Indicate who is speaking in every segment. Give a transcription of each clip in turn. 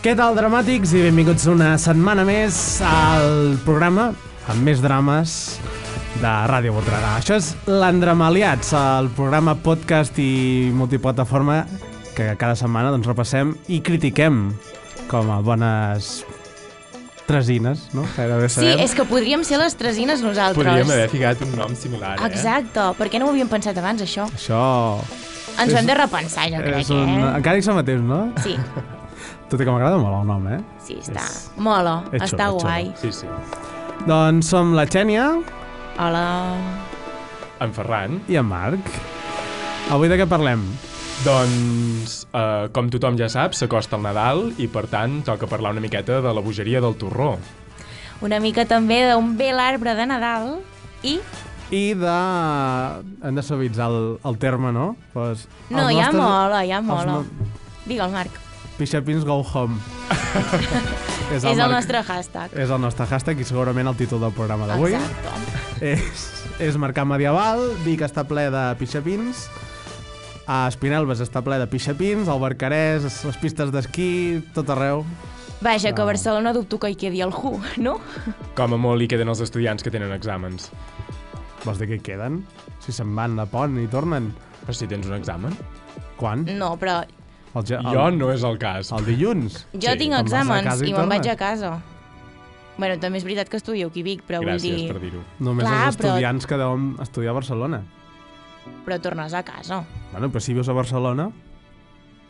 Speaker 1: Què tal, dramàtics? I benvinguts una setmana més al programa amb més drames de Ràdio Voltregà. Això és l'Andramaliats, el programa podcast i multiplataforma que cada setmana doncs, repassem i critiquem com a bones tresines, no? Gairebé
Speaker 2: Sí,
Speaker 1: sabem.
Speaker 2: és que podríem ser les tresines nosaltres.
Speaker 3: Podríem haver ficat un nom similar, eh?
Speaker 2: Exacte. Per què no ho havíem pensat abans, això?
Speaker 1: Això
Speaker 2: Ens ho hem de repensar, jo crec,
Speaker 1: és un...
Speaker 2: eh?
Speaker 1: Encara hi som a temps, no?
Speaker 2: Sí,
Speaker 1: Tot i que m'agrada molt el nom, eh?
Speaker 2: sí, està.
Speaker 1: És-
Speaker 2: Mola,
Speaker 1: és
Speaker 2: està
Speaker 1: xulo, és
Speaker 2: guai.
Speaker 3: Sí, sí.
Speaker 1: Doncs som la Xènia
Speaker 2: Hola.
Speaker 3: En Ferran.
Speaker 1: i en Marc. Avui de què parlem?
Speaker 3: Doncs, eh, com tothom ja sap, s'acosta el Nadal i, per tant, toca parlar una miqueta de la bogeria del torró.
Speaker 2: Una mica també d'on ve l'arbre de Nadal i...
Speaker 1: I de... Hem de suavitzar el, el terme, no? Pues,
Speaker 2: No,
Speaker 1: els
Speaker 2: ja
Speaker 1: nostres-
Speaker 2: mola, ja mola.
Speaker 1: els no-
Speaker 2: Digue'l, Marc.
Speaker 1: Pixapins go home.
Speaker 2: És el,
Speaker 1: Marc-
Speaker 2: nostre hashtag.
Speaker 1: És el nostre hashtag i segurament el títol del programa d'avui.
Speaker 2: Exacte.
Speaker 1: És, és Mercat Medieval, Vic està ple de pixapins, a Espinelves està ple de pixapins, al Barcarès, les pistes d'esquí, tot arreu.
Speaker 2: Vaja, que a Barcelona dubto que hi quedi el Who, no?
Speaker 3: Com a molt hi queden els estudiants que tenen exàmens.
Speaker 1: Vols dir que hi queden? Si se'n van de pont i tornen.
Speaker 3: Però si tens un examen.
Speaker 1: Quan?
Speaker 2: No, però
Speaker 1: El, ge- el,
Speaker 3: Jo no és el cas.
Speaker 1: El dilluns.
Speaker 2: Jo
Speaker 3: Sí,
Speaker 2: sí,
Speaker 1: te'n
Speaker 2: tinc
Speaker 1: vas a
Speaker 2: exàmens
Speaker 1: casa i
Speaker 2: i me'n
Speaker 1: tornes.
Speaker 2: vaig a casa. Bueno, també és veritat que estudio aquí a Vic, però
Speaker 3: Gràcies per
Speaker 2: vull dir...
Speaker 3: dir-ho.
Speaker 1: Només
Speaker 2: Clar,
Speaker 1: els
Speaker 2: però-
Speaker 1: estudiants que deuen estudiar a Barcelona.
Speaker 2: Però tornes a casa,
Speaker 1: Bueno, però si vius a Barcelona,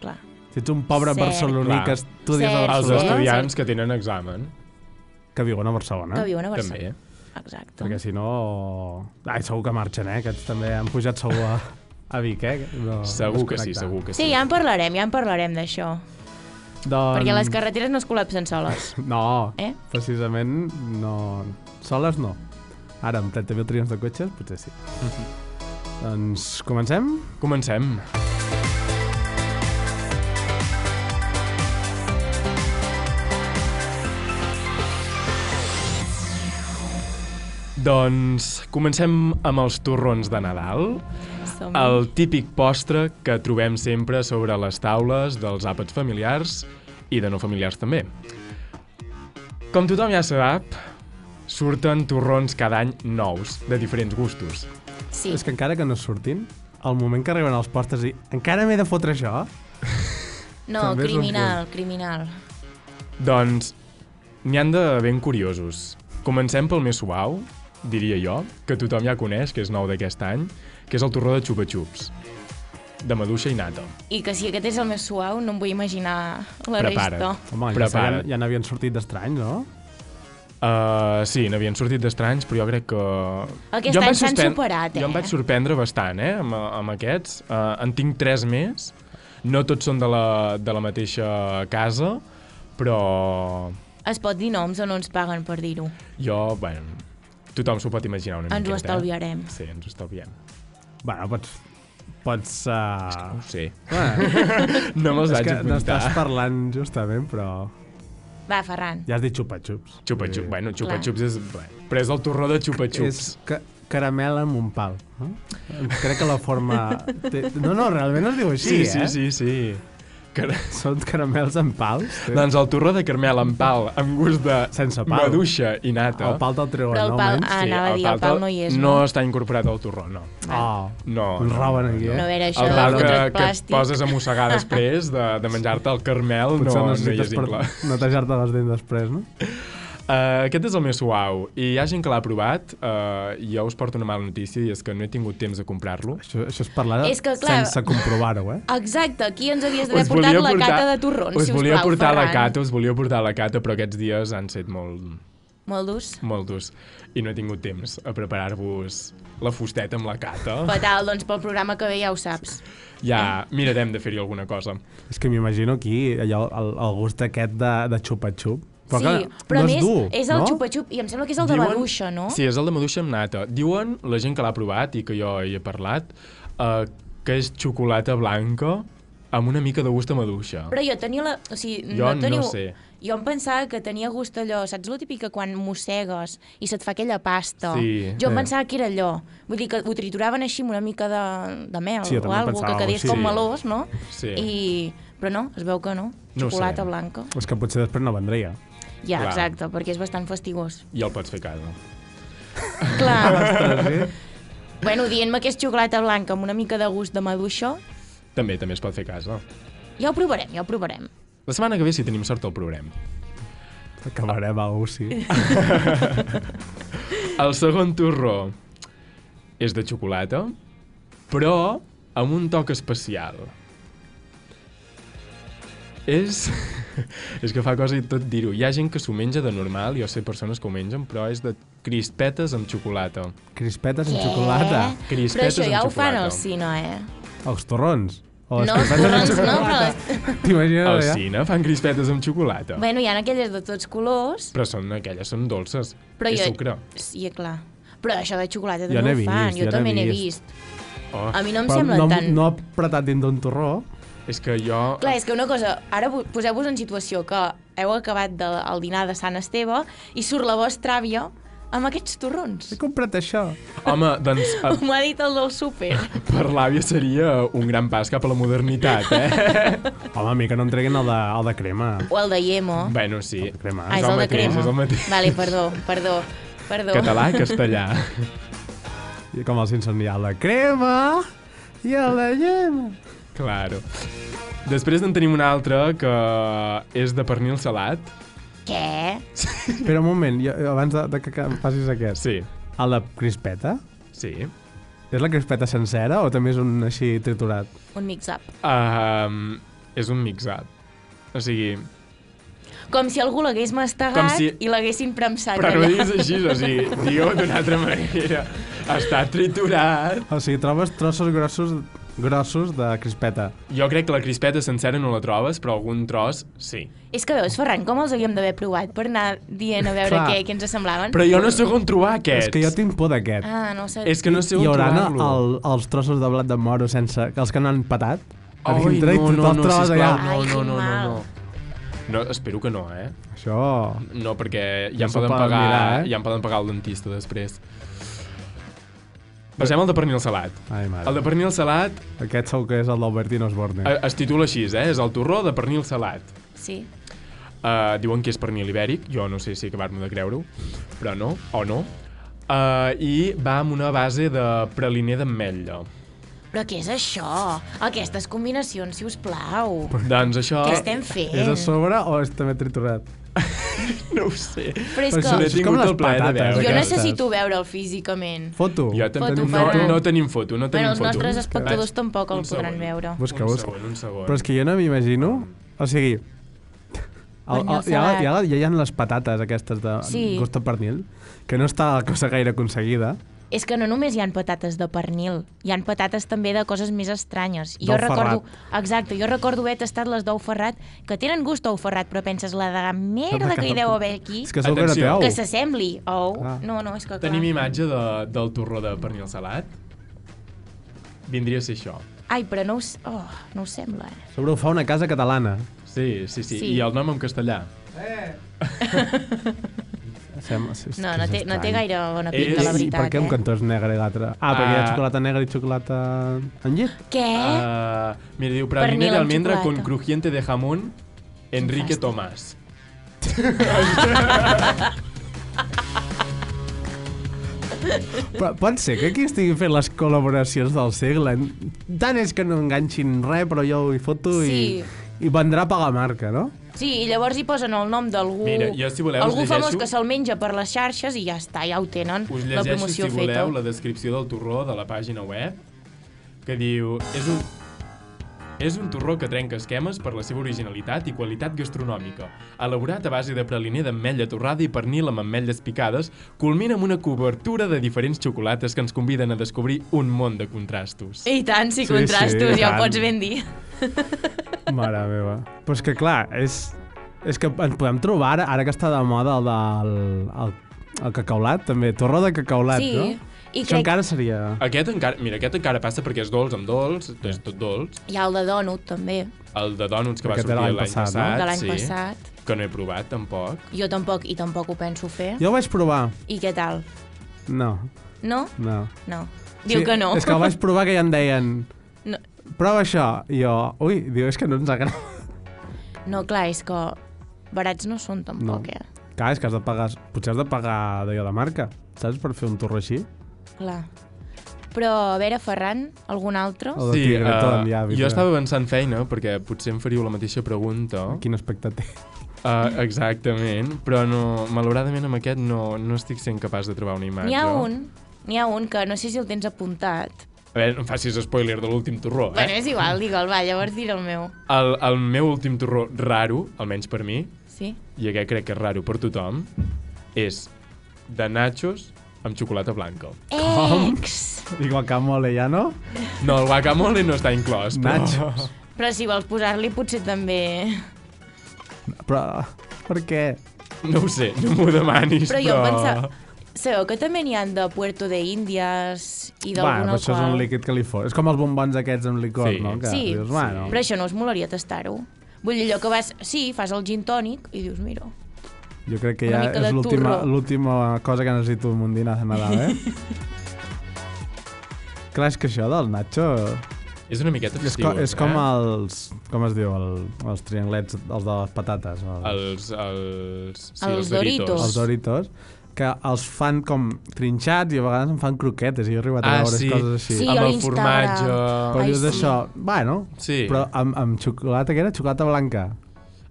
Speaker 2: clar.
Speaker 1: si ets un pobre
Speaker 2: Cert.
Speaker 1: barceloní
Speaker 3: Clar.
Speaker 1: que estudies a
Speaker 2: Cert,
Speaker 3: Els
Speaker 2: Sí.
Speaker 1: Barcelona,
Speaker 2: cert.
Speaker 3: estudiants que tenen examen,
Speaker 1: que viuen a Barcelona.
Speaker 2: Que viuen a
Speaker 3: Ah, també.
Speaker 2: Barcelona. Exacte.
Speaker 1: Perquè si no... Ai, segur que marxen, eh? Aquests també han pujat segur a, a Vic, eh? No,
Speaker 3: Segur que sí,
Speaker 1: desconnectar.
Speaker 3: segur que
Speaker 2: Sí,
Speaker 3: sí.
Speaker 2: ja en parlarem, ja en parlarem d'això.
Speaker 1: Doncs...
Speaker 3: Um,
Speaker 2: Perquè les carreteres no es col·lapsen soles.
Speaker 1: No, eh?
Speaker 2: Eh?
Speaker 1: precisament no... Soles no. Ara, amb 30.000 trions de cotxes, potser sí. Doncs comencem?
Speaker 3: Comencem. Doncs comencem amb els torrons de Nadal,
Speaker 2: Som...
Speaker 3: el típic postre que trobem sempre sobre les taules dels àpats familiars i de no familiars també. Com tothom ja sap, surten torrons cada any nous, de diferents gustos.
Speaker 2: Sí,
Speaker 1: És que encara que no surtin, al moment que arriben els postres i encara m'he de fotre això,
Speaker 2: no,
Speaker 1: també és un
Speaker 2: criminal, criminal.
Speaker 3: Doncs n'hi han de ben curiosos. Comencem pel més suau, diria jo, que tothom ja coneix, que és nou d'aquest any, que és el torró de xupa-xups, de maduixa i nata.
Speaker 2: I que si aquest és el més suau, no em vull imaginar la
Speaker 3: Prepara't.
Speaker 2: resta.
Speaker 1: home, ja, ja,
Speaker 3: Prepara't.
Speaker 1: ja n'havien sortit d'estranys, no?
Speaker 3: Uh, sí, n'havien sortit d'estranys, però jo crec que...
Speaker 2: Aquest
Speaker 3: jo em
Speaker 2: any
Speaker 3: vaig
Speaker 2: s'han
Speaker 3: sorpren-
Speaker 2: superat, eh?
Speaker 3: Jo em vaig sorprendre bastant, eh, amb, amb aquests. Uh, en tinc tres més. No tots són de la, de la mateixa casa, però
Speaker 2: Es pot dir noms o no ens paguen per dir-ho.
Speaker 3: jo, bueno, tothom s'ho pot imaginar una
Speaker 2: Ens ho
Speaker 3: miqueta.
Speaker 2: estalviarem.
Speaker 3: Eh? Sí, ens ho estalviem.
Speaker 1: Bueno, pots... Pots...
Speaker 3: No
Speaker 1: Uh...
Speaker 3: ho sé.
Speaker 1: Bueno,
Speaker 3: No me'ls
Speaker 1: és
Speaker 3: vaig
Speaker 1: que
Speaker 3: apuntar.
Speaker 1: n'estàs parlant justament, però...
Speaker 2: Va, Ferran.
Speaker 1: Ja has dit xupa-xups.
Speaker 3: Xupa-xups, bueno,
Speaker 2: Clar.
Speaker 3: xupa-xups és... Bueno, però és el torró de
Speaker 1: És
Speaker 3: xupa-xups.
Speaker 1: ca caramel amb un pal. No? Crec que la forma... Té... No, no, realment es diu així,
Speaker 3: Sí, sí,
Speaker 1: eh?
Speaker 3: sí, sí. Car...
Speaker 1: Són caramels amb pals? Té-
Speaker 3: Doncs el torró de carmel amb pal, amb gust de
Speaker 1: Sense pal.
Speaker 3: maduixa i nata.
Speaker 1: El pal te'l treuen,
Speaker 2: Però el
Speaker 1: no?
Speaker 2: pal-
Speaker 1: almenys?
Speaker 2: Ah, anava a dir, el pal no hi és,
Speaker 3: No,
Speaker 2: no?
Speaker 3: està incorporat al torró, no.
Speaker 1: Oh,
Speaker 3: No,
Speaker 1: Ens
Speaker 3: no,
Speaker 1: roben
Speaker 3: no,
Speaker 1: aquí,
Speaker 3: no.
Speaker 1: eh?
Speaker 2: A veure, això
Speaker 3: Ah, El
Speaker 2: del
Speaker 3: pal que,
Speaker 2: fotre't
Speaker 3: que et
Speaker 2: plàstic.
Speaker 3: poses a mossegar després de, de menjar-te el carmel no,
Speaker 1: Potser
Speaker 3: no hi
Speaker 1: necessites
Speaker 3: és inclòs.
Speaker 1: per netejar-te les dents després, no?
Speaker 3: Uh, aquest és el més suau i hi ha gent que l'ha provat uh, i jo us porto una mala notícia i és que no he tingut temps de comprar-lo
Speaker 1: Això, això és parlar
Speaker 2: És que, clar-
Speaker 1: sense comprovar-ho, eh?
Speaker 2: Exacte, aquí ens havies d'haver
Speaker 3: us
Speaker 2: portat
Speaker 3: volia
Speaker 2: la
Speaker 3: portar,
Speaker 2: cata de torrons,
Speaker 3: us
Speaker 2: si us
Speaker 3: volia
Speaker 2: plau,
Speaker 3: portar
Speaker 2: Ferran.
Speaker 3: la cata, us volia portar la cata, però aquests dies han set molt,
Speaker 2: Molt durs.
Speaker 3: molt durs i no he tingut temps a preparar-vos la fusteta amb la cata.
Speaker 2: Fatal, doncs pel programa que ve ja ho saps.
Speaker 3: Ja mirarem de fer-hi alguna cosa.
Speaker 1: És que m'imagino aquí allò, el, el gust aquest de, de xupa-xup. Però, clar,
Speaker 2: però
Speaker 1: no
Speaker 2: a més,
Speaker 1: és dur,
Speaker 2: és el
Speaker 1: no?
Speaker 2: xupa-xup, i em sembla que és el de maduixa, no?
Speaker 3: Sí, és el de maduixa amb nata. Diuen, la gent que l'ha provat i que jo hi he parlat, eh, que és xocolata blanca amb una mica de gust a maduixa.
Speaker 2: Però jo tenia la... O sigui,
Speaker 3: Jo
Speaker 2: no
Speaker 3: no
Speaker 2: teniu...
Speaker 3: sé.
Speaker 2: Jo em pensava que tenia gust allò, saps lo típic que quan mossegues i se't fa aquella pasta?
Speaker 3: Sí.
Speaker 2: jo em
Speaker 3: Eh.
Speaker 2: pensava que era allò. Vull dir que ho trituraven així amb una mica de, de mel
Speaker 1: Sí, jo
Speaker 2: o
Speaker 1: també
Speaker 2: alguna
Speaker 1: pensava alguna
Speaker 2: que quedés
Speaker 1: cosa
Speaker 2: com
Speaker 3: així.
Speaker 2: melós, no?
Speaker 3: Sí.
Speaker 2: I Però no, es veu que no.
Speaker 3: No ho
Speaker 2: Xocolata
Speaker 3: sabem.
Speaker 2: blanca.
Speaker 1: És que potser després no vendria.
Speaker 2: Ja,
Speaker 3: Clar.
Speaker 2: exacte, perquè és bastant fastigós.
Speaker 3: I el pots fer a casa.
Speaker 2: Clar.
Speaker 1: Sí?
Speaker 2: bueno, dient-me que és xocolata blanca amb una mica de gust de maduixó,
Speaker 3: També, també es pot fer a casa.
Speaker 2: ja ho provarem, ja ho provarem.
Speaker 3: La setmana que ve, si tenim sort, el provem.
Speaker 1: Acabarem a UCI.
Speaker 3: El segon torró és de xocolata, però amb un toc especial. És... és que fa cosa i tot dir-ho. Hi ha gent que s'ho menja de normal, jo sé persones que ho mengen, però és de crispetes amb xocolata.
Speaker 1: Crispetes amb xocolata.
Speaker 2: Eh? Però
Speaker 3: Crispetes
Speaker 2: això ja
Speaker 3: amb
Speaker 2: ho fan
Speaker 3: xocolata.
Speaker 2: al Sino, eh?
Speaker 1: Els torrons. O les
Speaker 2: No, els
Speaker 1: crispetes amb
Speaker 2: torrons no, però...
Speaker 1: xocolata.
Speaker 2: Les...
Speaker 3: Al
Speaker 1: T'imagines? ja?
Speaker 3: cine fan crispetes amb xocolata. Bé.
Speaker 2: Bueno, hi ha aquelles de tots colors,
Speaker 3: Però són aquelles, són dolces.
Speaker 2: però
Speaker 3: I
Speaker 2: jo...
Speaker 3: sucre.
Speaker 2: Sí, clar. Però això de xocolata
Speaker 1: Jo
Speaker 2: també
Speaker 1: n'he
Speaker 2: ho fan,
Speaker 1: vist,
Speaker 2: jo
Speaker 1: jo n'he
Speaker 2: també n'he
Speaker 1: vist.
Speaker 2: vist.
Speaker 3: Oh,
Speaker 2: A mi no em
Speaker 1: Però
Speaker 2: semblen
Speaker 1: no,
Speaker 2: tan...
Speaker 1: no apretat dins d'un torró.
Speaker 3: és que jo...
Speaker 2: Clar, és que una cosa, ara vo- poseu-vos en situació que heu acabat de, el dinar de Sant Esteve i surt la vostra àvia amb aquests torrons.
Speaker 1: He comprat això.
Speaker 3: Home, doncs... eh,
Speaker 2: M'ho ha dit el del súper.
Speaker 3: Per l'àvia seria un gran pas cap a la modernitat, eh?
Speaker 1: Home, a mi que no em treguin el de, el de crema.
Speaker 2: O el de Yemo.
Speaker 3: bueno, sí.
Speaker 1: El de crema. eh?
Speaker 2: Ah,
Speaker 1: és
Speaker 2: és el de
Speaker 3: mateix,
Speaker 2: crema.
Speaker 3: és el mateix.
Speaker 2: Vale, perdó, perdó, perdó.
Speaker 3: Català i castellà.
Speaker 1: I com els incendiar la crema i a la llema.
Speaker 3: claro. Després en tenim una altra que és de pernil salat.
Speaker 2: Què?
Speaker 1: Però un moment, jo, abans de, de que que facis aquest.
Speaker 3: Sí,
Speaker 1: El de crispeta?
Speaker 3: sí.
Speaker 1: És la crispeta sencera o també és un així triturat?
Speaker 2: Un mix-up.
Speaker 3: Um, és un mix-up. O sigui,
Speaker 2: Com si algú l'hagués
Speaker 3: Com
Speaker 2: mastegat
Speaker 3: si-
Speaker 2: si... i l'haguessin premsat
Speaker 3: però no
Speaker 2: allà.
Speaker 3: diguis així, o sigui, digue-ho d'una altra manera. Està triturat.
Speaker 1: O sigui, trobes trossos grossos grossos de crispeta.
Speaker 3: Jo crec que la crispeta sencera no la trobes, però algun tros sí.
Speaker 2: És que veus, Ferran, com els havíem d'haver provat per anar dient a veure
Speaker 1: Clar.
Speaker 2: què, què ens semblaven?
Speaker 3: Però jo no sé on trobar
Speaker 1: És
Speaker 3: aquests.
Speaker 1: que jo tinc por d'aquest.
Speaker 2: Ah, no ho sé.
Speaker 3: És que no sé on
Speaker 1: Hi haurà
Speaker 3: trobar-lo.
Speaker 1: el, els trossos de blat de moro sense... els que no han patat? A
Speaker 3: Ai,
Speaker 1: dintre i tu te'ls trobes
Speaker 3: sisplau,
Speaker 1: allà.
Speaker 2: Ai,
Speaker 3: no, no,
Speaker 2: quin
Speaker 3: no,
Speaker 2: mal.
Speaker 3: no, no. No, espero que no, eh?
Speaker 1: Això...
Speaker 3: No, perquè ja em
Speaker 1: No se'l
Speaker 3: poden
Speaker 1: poden
Speaker 3: pagar,
Speaker 1: mirar, eh?
Speaker 3: ja em poden pagar el dentista després. Passem al de pernil salat.
Speaker 1: Ai, mare.
Speaker 3: El de pernil salat
Speaker 1: Aquest segur que és el d'Albertino Osborne.
Speaker 3: eh, es titula així, eh? És el torró de pernil salat.
Speaker 2: Sí.
Speaker 3: Uh, diuen que és pernil ibèric, jo no sé si acabar-me de creure-ho, però no, o no. Uh, I va amb una base de praliner d'ametlla.
Speaker 2: Però què és això? Aquestes combinacions, si us plau.
Speaker 3: Doncs això...
Speaker 2: Què estem fent?
Speaker 1: És a sobre o és també triturat?
Speaker 3: No ho sé.
Speaker 2: Però és
Speaker 1: Però
Speaker 2: que
Speaker 1: això
Speaker 3: N'he
Speaker 1: és com
Speaker 3: tingut
Speaker 1: les
Speaker 3: el plaer de
Speaker 1: patates,
Speaker 3: veure.
Speaker 2: jo
Speaker 1: aquestes.
Speaker 2: necessito veure'l físicament.
Speaker 1: Foto.
Speaker 3: Jo també
Speaker 2: Foto,
Speaker 3: no,
Speaker 2: Ferran.
Speaker 3: no tenim foto, no tenim
Speaker 2: Bueno, els
Speaker 3: foto.
Speaker 2: nostres espectadors
Speaker 3: Vaig.
Speaker 2: tampoc el
Speaker 3: Un
Speaker 2: podran
Speaker 3: segon.
Speaker 2: veure.
Speaker 1: Busca,
Speaker 3: un
Speaker 1: busca.
Speaker 3: segon, un segon.
Speaker 1: Però és que jo no m'imagino... O sigui... El, el,
Speaker 2: Pernil
Speaker 1: ja,
Speaker 2: salat.
Speaker 1: ja, ja hi ha les patates aquestes de
Speaker 2: Sí.
Speaker 1: gust de pernil, que no està la cosa gaire aconseguida.
Speaker 2: És que no només hi han patates de pernil, hi han patates també de coses més estranyes. Jo
Speaker 1: D'ou
Speaker 2: recordo, exacte, jo recordo haver tastat les d'ou ferrat, que tenen gust d'ou ferrat, però penses la de merda que hi deu haver aquí,
Speaker 1: És que segur que no té
Speaker 3: Atenció.
Speaker 1: ou.
Speaker 2: que s'assembli ou.
Speaker 1: Clar.
Speaker 2: No, no, és que clar.
Speaker 3: Tenim imatge de, del torró de pernil salat? Vindria a ser això.
Speaker 2: Ai, però no ho, s- oh, no ho sembla, eh?
Speaker 1: Sobre ho fa una casa catalana,
Speaker 3: Sí, sí, sí.
Speaker 2: Sí.
Speaker 3: I el nom en castellà.
Speaker 1: Sembla, sí, és
Speaker 2: No,
Speaker 1: que
Speaker 2: no
Speaker 1: és
Speaker 2: té, no té
Speaker 1: estrany.
Speaker 2: gaire bona pinta,
Speaker 3: És-
Speaker 2: la
Speaker 1: I
Speaker 2: veritat,
Speaker 1: per què un
Speaker 2: eh?
Speaker 1: cantó és negre i l'altre? Ah, perquè hi ha
Speaker 3: Ah.
Speaker 1: xocolata negra i xocolata amb llet.
Speaker 2: Què?
Speaker 1: Ah.
Speaker 3: Uh, mira, diu,
Speaker 2: Eh?
Speaker 3: praliner
Speaker 2: Pernil
Speaker 3: de
Speaker 2: amb
Speaker 3: almendra
Speaker 2: xocolata.
Speaker 3: con crujiente de jamón, Enrique
Speaker 2: fàstic.
Speaker 3: Tomás.
Speaker 1: Però pot ser que aquí estiguin fent les col·laboracions del segle. Tant és que no enganxin res, però jo hi foto
Speaker 2: Sí.
Speaker 1: i, i vendrà a pagar marca, no?
Speaker 2: Sí, i llavors hi posen el nom d'algú...
Speaker 3: Mira, jo, si voleu, us
Speaker 2: algú famós
Speaker 3: llegeixo-
Speaker 2: que se'l menja per les xarxes i ja està, ja ho tenen,
Speaker 3: Us
Speaker 2: la
Speaker 3: llegeixo, si
Speaker 2: promoció feta.
Speaker 3: voleu, la descripció del torró de la pàgina web, que diu... És un, és un torró que trenca esquemes per la seva originalitat i qualitat gastronòmica. Elaborat a base de praliner d'ametlla torrada i pernil amb ametlles picades, culmina amb una cobertura de diferents xocolates que ens conviden a descobrir un món de contrastos.
Speaker 2: I tant, si
Speaker 1: Sí,
Speaker 2: contrastos,
Speaker 1: sí,
Speaker 2: ja
Speaker 1: tant.
Speaker 2: ho pots ben dir.
Speaker 1: Mare meva. Però és que, clar, és, és que ens podem trobar, ara, ara que està de moda el, del, el, el cacaulat, també. Torró de cacaulat,
Speaker 2: Sí,
Speaker 1: no?
Speaker 2: i
Speaker 1: Això
Speaker 2: crec-
Speaker 1: encara seria...
Speaker 3: Aquest encara, mira, aquest encara passa perquè és dolç amb dolç, és tot dolç.
Speaker 2: Hi ha el de Donut, també,
Speaker 3: El de dònuts que va
Speaker 1: Aquest era
Speaker 3: sortir l'any
Speaker 1: l'any passat,
Speaker 3: passat,
Speaker 1: no?
Speaker 2: de l'any
Speaker 3: sí,
Speaker 2: passat.
Speaker 3: que no he provat tampoc.
Speaker 2: Jo tampoc, i tampoc ho penso fer.
Speaker 1: Jo ho vaig provar.
Speaker 2: I què tal?
Speaker 1: No,
Speaker 2: No?
Speaker 1: no.
Speaker 2: No. Diu que no.
Speaker 1: És que el vaig provar que ja em deien...
Speaker 2: no.
Speaker 1: prova això. I jo, ui, diu, és que no ens agrada.
Speaker 2: No, clar, és que barats no són tampoc,
Speaker 1: No.
Speaker 2: eh?
Speaker 1: Clar, és que has de pagar, potser has de pagar d'allò de marca, saps? Per fer un torró així.
Speaker 2: Clar. Però, a veure, Ferran, algun altre?
Speaker 1: O de sí, tigretón, ja.
Speaker 3: eh, jo
Speaker 1: vindrà.
Speaker 3: estava avançant feina perquè potser em faríeu la mateixa pregunta.
Speaker 1: Quin aspecte té?
Speaker 3: Uh, exactament, però no, malauradament amb aquest no, no estic sent capaç de trobar una imatge.
Speaker 2: N'hi ha un, n'hi ha un que no sé si el tens apuntat.
Speaker 1: Eh?
Speaker 3: A veure, no em facis spoiler de l'últim torró, eh?
Speaker 2: Bueno, és igual, digue'l, va, llavors diré el meu.
Speaker 3: El, el meu últim torró raro, almenys per mi,
Speaker 2: Sí?
Speaker 3: i aquest crec que és raro per tothom, és de nachos amb xocolata blanca.
Speaker 2: Ex!
Speaker 1: Dic guacamole, ja no?
Speaker 3: No, el guacamole no està inclòs, però...
Speaker 1: Nachos.
Speaker 2: Però si vols posar-li potser també...
Speaker 1: Però, per què?
Speaker 3: No ho sé, no m'ho demanis,
Speaker 2: Però
Speaker 3: però...
Speaker 2: jo em pensava... Sabeu que també n'hi han de Puerto de Indias i
Speaker 1: Va,
Speaker 2: d'alguna
Speaker 1: però això és un
Speaker 2: qual?
Speaker 1: líquid que li fot. És com els bombons aquests amb licor,
Speaker 3: Sí.
Speaker 1: no? Que
Speaker 2: Sí,
Speaker 1: dius, bueno,
Speaker 2: Però això no us molaria tastar-ho? Vull dir, allò que vas... Sí, fas el gin tònic i dius, mira...
Speaker 1: jo crec que
Speaker 2: una
Speaker 1: ja
Speaker 2: mica
Speaker 1: és
Speaker 2: de
Speaker 1: l'última
Speaker 2: turró.
Speaker 1: l'última cosa que necessito en un dinar de Nadal, eh? Clar, és que això del nacho
Speaker 3: És una miqueta
Speaker 1: és,
Speaker 3: festiu,
Speaker 1: co és com
Speaker 3: eh?
Speaker 1: els... Com es diu? El, els trianglets, els de les patates. Els,
Speaker 3: Els, els, sí,
Speaker 2: Els Doritos.
Speaker 1: els Doritos que els fan com trinxats i a vegades en fan croquetes i jo he arribat a
Speaker 3: Ah,
Speaker 1: veure
Speaker 3: sí.
Speaker 1: coses així.
Speaker 2: Sí, a
Speaker 3: amb el
Speaker 2: l'Instagram.
Speaker 3: formatge...
Speaker 1: Però
Speaker 2: Ai,
Speaker 1: dius
Speaker 2: sí.
Speaker 1: això, bueno,
Speaker 3: Sí.
Speaker 1: però amb, amb xocolata, que era xocolata blanca.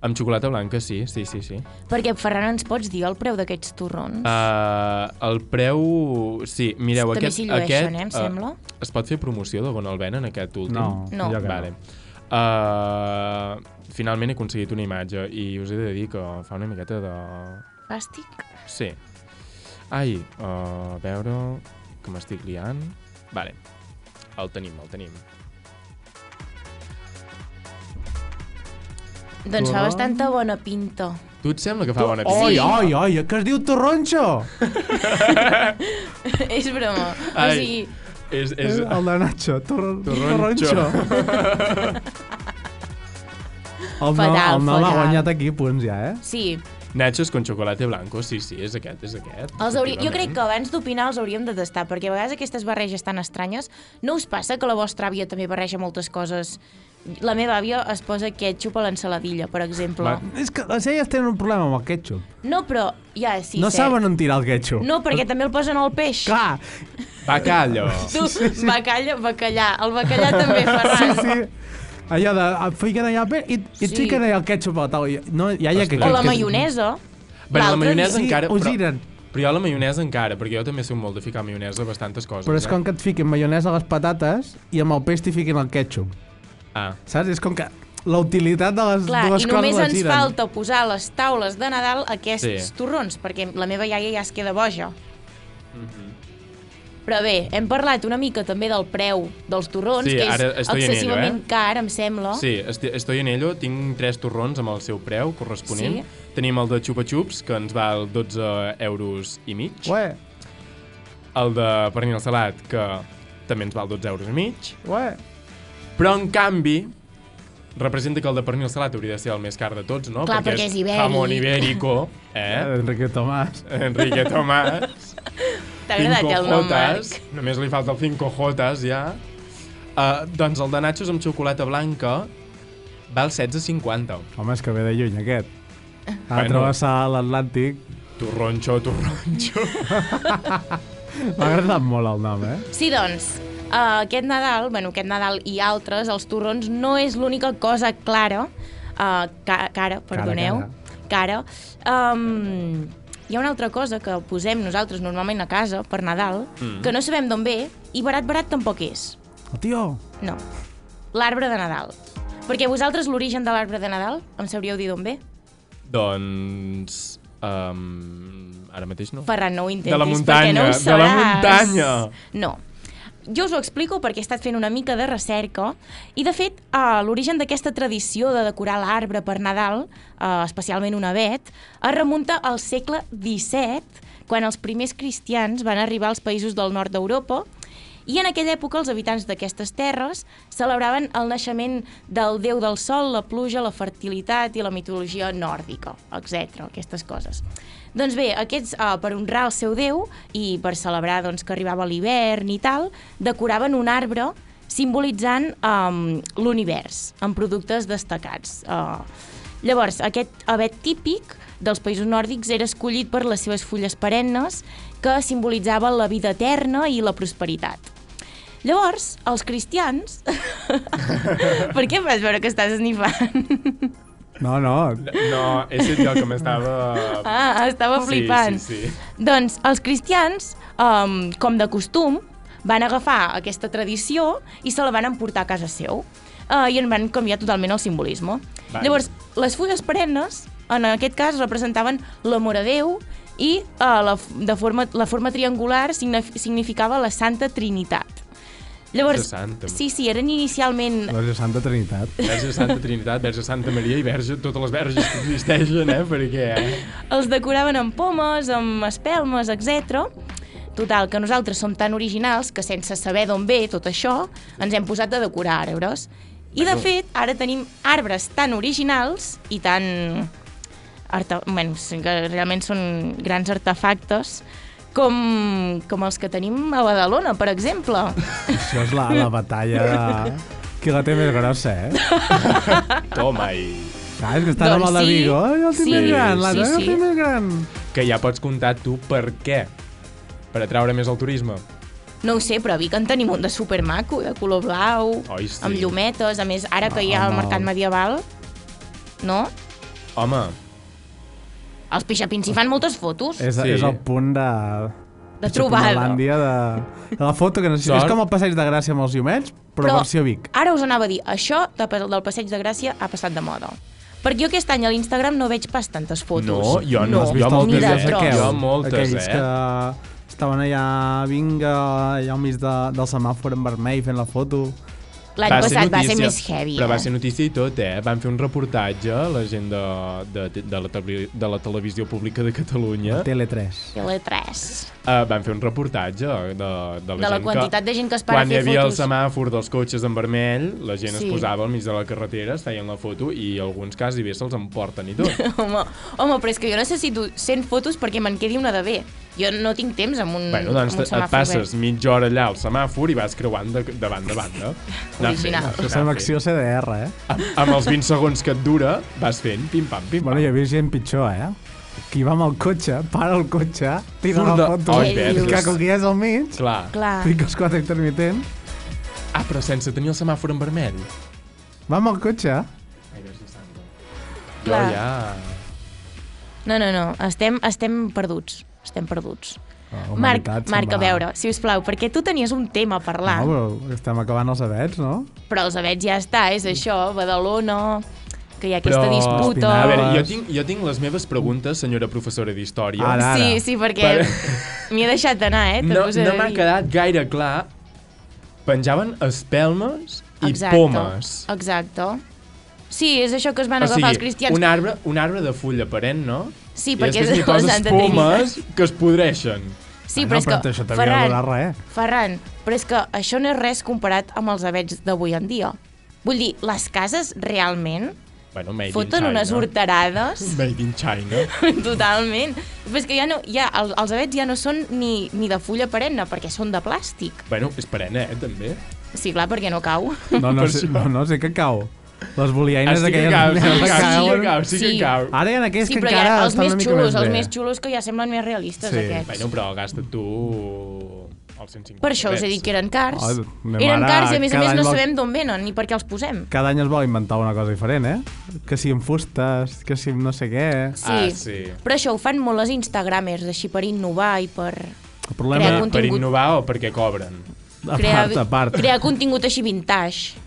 Speaker 3: Amb xocolata blanca, sí, sí, sí, sí.
Speaker 2: Perquè, Ferran, ens pots dir el preu d'aquests torrons?
Speaker 1: Ah,
Speaker 3: Uh, el preu... Sí, mireu,
Speaker 2: També
Speaker 3: aquest...
Speaker 2: s'hi llueixen,
Speaker 3: aquest,
Speaker 2: eh, em
Speaker 3: eh,
Speaker 2: sembla.
Speaker 3: Es pot fer promoció d'on el venen, aquest últim?
Speaker 1: No,
Speaker 2: No.
Speaker 1: jo que
Speaker 3: Vale. Uh, finalment he aconseguit una imatge i us he de dir que fa una miqueta de...
Speaker 2: Plàstic?
Speaker 3: Sí. Ai, uh, a veure... Que m'estic liant... Vale. El tenim, el tenim.
Speaker 2: Doncs fa
Speaker 1: Torrons.
Speaker 2: bastanta bona pinta.
Speaker 3: Tu et sembla que fa bona pinta?
Speaker 1: Oi, oi, oi, que es diu torronxo?
Speaker 2: és broma. O
Speaker 3: Ai.
Speaker 2: sigui,
Speaker 3: És,
Speaker 1: És...
Speaker 3: és,
Speaker 1: El de Nacho, torron,
Speaker 3: Torronxo.
Speaker 1: torronxo. El no,
Speaker 2: Fatal,
Speaker 1: el no l'ha
Speaker 2: fatal.
Speaker 1: guanyat aquí punts ja, eh?
Speaker 2: sí.
Speaker 3: Nachos con chocolate blanco, sí, sí, és aquest, és aquest.
Speaker 2: Els hauri... Jo crec
Speaker 3: efectivament.
Speaker 2: que abans d'opinar els hauríem de tastar, perquè a vegades aquestes barreges tan estranyes... No us passa que la vostra àvia també barreja moltes coses? La meva àvia es posa ketchup a l'ensaladilla, per exemple.
Speaker 3: Va.
Speaker 1: És que les elles tenen un problema amb el ketchup.
Speaker 2: No, però... Ja, sí,
Speaker 1: no
Speaker 2: cert.
Speaker 1: saben on tirar el ketchup.
Speaker 2: No, perquè també el posen al peix.
Speaker 1: Clar,
Speaker 3: Bacallo.
Speaker 2: Tu, bacalla, bacallà. El bacallà també, Ferran.
Speaker 1: sí, sí. Allò de, ah, fiquen allà el pe- i, i et
Speaker 2: Sí.
Speaker 1: fiquen allà el ketchup a la taula. I- No, hi ha ja que...
Speaker 3: Ostres.
Speaker 2: O la
Speaker 1: que-
Speaker 2: maionesa.
Speaker 3: Bé, la
Speaker 2: L'altre
Speaker 3: maionesa
Speaker 1: sí,
Speaker 3: encara...
Speaker 1: ho giren.
Speaker 3: Però, però jo la maionesa encara, perquè jo també soc molt de ficar maionesa a bastantes coses. eh?
Speaker 1: Però és com que et fiquen maionesa a les patates i amb el peix t'hi fiquen el ketchup.
Speaker 3: Eh? Ah,
Speaker 1: Saps? És com que la utilitat de les
Speaker 2: Clar,
Speaker 1: dues
Speaker 2: i
Speaker 1: coses
Speaker 2: només
Speaker 1: la
Speaker 2: ens
Speaker 1: giren.
Speaker 2: falta posar a les taules de Nadal aquests
Speaker 3: Sí.
Speaker 2: torrons, perquè la meva iaia ja es queda boja.
Speaker 3: Mhm.
Speaker 2: Però bé, hem parlat una mica també del preu dels torrons,
Speaker 3: Sí,
Speaker 2: que és
Speaker 3: ara estoy en ello,
Speaker 2: excessivament
Speaker 3: eh?
Speaker 2: car, em sembla.
Speaker 3: sí, esti estoy en ello. Tinc tres torrons amb el seu preu corresponent.
Speaker 2: Sí.
Speaker 3: Tenim el de xupa-xups, que ens val 12 euros i mig.
Speaker 1: Ué,
Speaker 3: El de pernil salat, que també ens val 12 euros i mig.
Speaker 1: ué.
Speaker 3: Però, en canvi, representa que el de pernil salat hauria de ser el més car de tots, no?
Speaker 2: Clar, perquè és ibèric.
Speaker 3: Jamón ibérico, eh?
Speaker 1: Enrique Tomàs.
Speaker 3: Enrique Tomàs.
Speaker 2: T'ha agradat ja el nom,
Speaker 3: Jotas.
Speaker 2: Marc?
Speaker 3: Només li falta el 5 jotas, ja. Uh, doncs el de nachos amb xocolata blanca val 16,50.
Speaker 1: Home, és que ve de lluny, aquest. Ha
Speaker 3: Bueno.
Speaker 1: de travessar l'Atlàntic.
Speaker 3: Torronxo, torronxo.
Speaker 1: M'ha agradat molt el nom, eh?
Speaker 2: Sí, doncs, uh, aquest Nadal, bueno, aquest Nadal i altres, els torrons, no és l'única cosa clara, uh, ca cara, perdoneu, cara. Um, hi ha una altra cosa que posem nosaltres normalment a casa per Nadal, mm. que no sabem d'on ve, i barat barat tampoc és.
Speaker 1: El Oh, tio!
Speaker 2: No. L'arbre de Nadal. Perquè vosaltres l'origen de l'arbre de Nadal em sabríeu dir d'on ve?
Speaker 3: doncs... Um, ara mateix no.
Speaker 2: Ferran, no ho intentis,
Speaker 3: la
Speaker 2: perquè no ho
Speaker 3: muntanya, de la
Speaker 2: sabràs.
Speaker 3: muntanya.
Speaker 2: No. Jo us ho explico perquè he estat fent una mica de recerca i, de fet, eh, l'origen d'aquesta tradició de decorar l'arbre per Nadal, eh, especialment un avet, es remunta al segle XVII, quan els primers cristians van arribar als països del nord d'Europa i en aquella època els habitants d'aquestes terres celebraven el naixement del déu del sol, la pluja, la fertilitat i la mitologia nòrdica, etc. aquestes coses. Doncs bé, aquests, eh, per honrar el seu déu i per celebrar doncs, que arribava l'hivern i tal, decoraven un arbre simbolitzant um, l'univers amb productes destacats. Uh, llavors, aquest avet típic dels països nòrdics era escollit per les seves fulles perennes que simbolitzaven la vida eterna i la prosperitat. Llavors, els cristians... per què em fas veure que estàs esnifant?
Speaker 1: No, no.
Speaker 3: No, he sentit el que m'estava...
Speaker 2: Ah, estava flipant.
Speaker 3: Sí, sí, sí.
Speaker 2: Doncs els cristians, um, com de costum, van agafar aquesta tradició i se la van emportar a casa seu uh, i en van canviar totalment el simbolisme.
Speaker 3: Vaja.
Speaker 2: Vai. Llavors, les fulles perennes, en aquest cas, representaven l'amor a Déu i uh, la, f- de forma, la forma triangular signif significava la Santa Trinitat. Llavors,
Speaker 3: Verge Santa.
Speaker 2: sí, sí, eren inicialment...
Speaker 1: La Santa Trinitat.
Speaker 3: Verge Santa Trinitat, Verge Santa Maria i Verge, totes les verges que existeixen, eh? Perquè... Eh?
Speaker 2: Els decoraven amb pomes, amb espelmes, etc. Total, que nosaltres som tan originals que sense saber d'on ve tot això, ens hem posat a decorar arbres. I, de fet, ara tenim arbres tan originals i tan... Arte... Bueno, sí, que realment són grans artefactes com, com els que tenim a Badalona, per exemple.
Speaker 1: Això és la, la batalla de... Qui la té més grossa, eh?
Speaker 3: Toma, i...
Speaker 1: Clar, és que estan amb
Speaker 2: Doncs
Speaker 1: el de
Speaker 2: sí.
Speaker 1: Vigo. Ai, el té
Speaker 2: Sí,
Speaker 1: més gran, l'altre,
Speaker 2: sí,
Speaker 1: sí,
Speaker 2: sí.
Speaker 1: el té més gran.
Speaker 3: Que ja pots contar tu per què. Per atraure més el turisme.
Speaker 2: No ho sé, però a Vic en tenim un de supermaco, de color blau,
Speaker 3: Oi, sí.
Speaker 2: amb llumetes, a més, ara que hi ha
Speaker 1: Ah,
Speaker 2: el
Speaker 1: home.
Speaker 2: mercat medieval, no?
Speaker 3: Home,
Speaker 2: Els pixapins hi fan moltes fotos
Speaker 1: És,
Speaker 3: Sí.
Speaker 1: sí. és el punt de...
Speaker 2: de trobada.
Speaker 1: Eh, De, de la foto que necessita.
Speaker 3: Sort.
Speaker 1: És com el passeig de Gràcia amb els humets, però, però... versió Vic.
Speaker 2: Ara us anava a dir, això de, del Passeig de Gràcia ha passat de moda. Perquè jo aquest any a l'Instagram no veig pas tantes fotos.
Speaker 3: No, jo no.
Speaker 1: No, has vist
Speaker 3: jo
Speaker 1: els
Speaker 3: moltes,
Speaker 2: ni de
Speaker 1: vídeos
Speaker 3: eh?
Speaker 2: tros.
Speaker 3: Jo moltes,
Speaker 1: Aquells
Speaker 3: eh?
Speaker 1: que estaven allà, vinga, allà al mig de, del semàfor en vermell fent la foto.
Speaker 2: L'any passat va ser més heavy.
Speaker 3: Però
Speaker 2: eh?
Speaker 3: va ser notícia i tot, eh? Van fer un reportatge, la gent de, de, de, la, tele- de la televisió pública de Catalunya.
Speaker 1: Tele3.
Speaker 2: Tele3.
Speaker 3: Uh, van fer un reportatge de, de, la,
Speaker 2: De la
Speaker 3: gent
Speaker 2: quantitat
Speaker 3: que,
Speaker 2: de gent que es para a
Speaker 3: Quan
Speaker 2: fer
Speaker 3: hi havia
Speaker 2: fotos.
Speaker 3: el semàfor dels cotxes en vermell, la gent sí.
Speaker 2: Sí.
Speaker 3: es posava al mig de la carretera, es feien la foto i alguns casos i bé se'ls emporten i tot.
Speaker 2: Home, home, però és que jo necessito 100 fotos perquè me'n quedi una de bé. Jo no tinc temps amb un,
Speaker 3: bueno, doncs
Speaker 2: amb un
Speaker 3: et
Speaker 2: semàfor
Speaker 3: passes
Speaker 2: verd.
Speaker 3: mitja hora allà al semàfor i vas creuant de, de banda a banda. Anar fent,
Speaker 2: Original.
Speaker 3: anar
Speaker 1: Això
Speaker 3: fent.
Speaker 1: sembla acció CDR, eh?
Speaker 3: Amb, amb els 20 segons que et dura, vas fent pim-pam, pim-pam.
Speaker 1: Bueno, hi havia gent pitjor, eh? Qui va amb el cotxe, para el cotxe, tira
Speaker 3: Surt
Speaker 1: la
Speaker 3: de-
Speaker 1: foto,
Speaker 2: Ai, verges.
Speaker 1: que com que ja és al mig,
Speaker 3: Clar.
Speaker 2: Clar.
Speaker 1: fica els quatre intermitents,
Speaker 3: Ah, però sense tenir el semàfor en vermell.
Speaker 1: va amb el cotxe.
Speaker 3: Ai, Verge Santa. Jo
Speaker 2: Clar.
Speaker 3: ja...
Speaker 2: No, no, no. Estem, estem perduts. Estem perduts.
Speaker 1: Oh,
Speaker 2: Marc, Marc, a veure, si us plau, perquè tu tenies un tema a parlar.
Speaker 1: No, però estem acabant els avets, no?
Speaker 2: Però els avets ja està, és
Speaker 3: Mm.
Speaker 2: això, Badalona, que hi ha aquesta disputa...
Speaker 1: Espinal.
Speaker 3: A veure, jo tinc, jo tinc les meves preguntes, senyora professora d'Història.
Speaker 1: Ara.
Speaker 2: Sí, sí, perquè
Speaker 3: Per-
Speaker 2: m'hi he deixat anar, eh?
Speaker 3: No,
Speaker 2: us he
Speaker 3: no
Speaker 2: de
Speaker 3: m'ha
Speaker 2: dir.
Speaker 3: quedat gaire clar. Penjaven espelmes i
Speaker 2: Exacte,
Speaker 3: pomes.
Speaker 2: Exacte. Sí, és això que es van
Speaker 3: O
Speaker 2: agafar
Speaker 3: sigui,
Speaker 2: els cristians.
Speaker 3: un arbre, un arbre de fulla parent, no?
Speaker 2: Sí,
Speaker 3: I
Speaker 2: perquè
Speaker 3: després
Speaker 2: és
Speaker 3: hi
Speaker 2: la
Speaker 3: poses
Speaker 2: Santa
Speaker 3: pomes que es podreixen.
Speaker 2: Sí,
Speaker 1: Ah,
Speaker 2: però
Speaker 1: no,
Speaker 2: és
Speaker 1: però
Speaker 2: que,
Speaker 1: això t'havia de
Speaker 2: Ferran,
Speaker 1: durar res.
Speaker 2: Ferran, però és que això no és res comparat amb els avets d'avui en dia. Vull dir, les cases realment
Speaker 3: Bueno, made in
Speaker 2: foten
Speaker 3: China.
Speaker 2: unes horterades
Speaker 3: Made in China.
Speaker 2: Totalment. Però és que ja no, ja, els, els avets ja no són ni, ni de fulla perenne, perquè són de plàstic.
Speaker 3: Bueno, és parent, eh, també.
Speaker 2: Sí, clar, perquè no cau.
Speaker 1: No, no,
Speaker 3: Per
Speaker 1: sé,
Speaker 3: això.
Speaker 1: no, no sé que cau. Les boliaines
Speaker 3: Estic
Speaker 1: aquelles...
Speaker 3: que cau, sí que cau, sí que cau, sí que
Speaker 2: Sí.
Speaker 3: cau.
Speaker 1: Ara hi ha aquells
Speaker 2: sí,
Speaker 1: que
Speaker 2: però ja,
Speaker 1: encara
Speaker 2: els
Speaker 1: estan
Speaker 2: més
Speaker 1: una mica
Speaker 2: xulos,
Speaker 1: més
Speaker 2: els
Speaker 1: bé.
Speaker 2: més xulos que ja semblen més realistes,
Speaker 1: Sí.
Speaker 2: aquests.
Speaker 3: Bueno, però gasta't tu els 150
Speaker 2: per això us he
Speaker 3: pets.
Speaker 2: dit que eren cars.
Speaker 1: Ai, ma
Speaker 2: eren
Speaker 1: mare,
Speaker 2: cars i, a més a
Speaker 1: cada
Speaker 2: més,
Speaker 1: any
Speaker 2: no
Speaker 1: vol-
Speaker 2: sabem d'on venen ni per què els posem.
Speaker 1: Cada any es vol inventar una cosa diferent, eh? Que si amb fustes, que si amb no sé què...
Speaker 2: Sí.
Speaker 3: Ah, sí.
Speaker 2: Però això ho fan molt les instagramers, així per innovar i per...
Speaker 1: El problema...
Speaker 2: Crea
Speaker 3: Per
Speaker 2: Contingut.
Speaker 3: innovar o perquè cobren?
Speaker 1: A part, a part.
Speaker 2: crear contingut així vintage.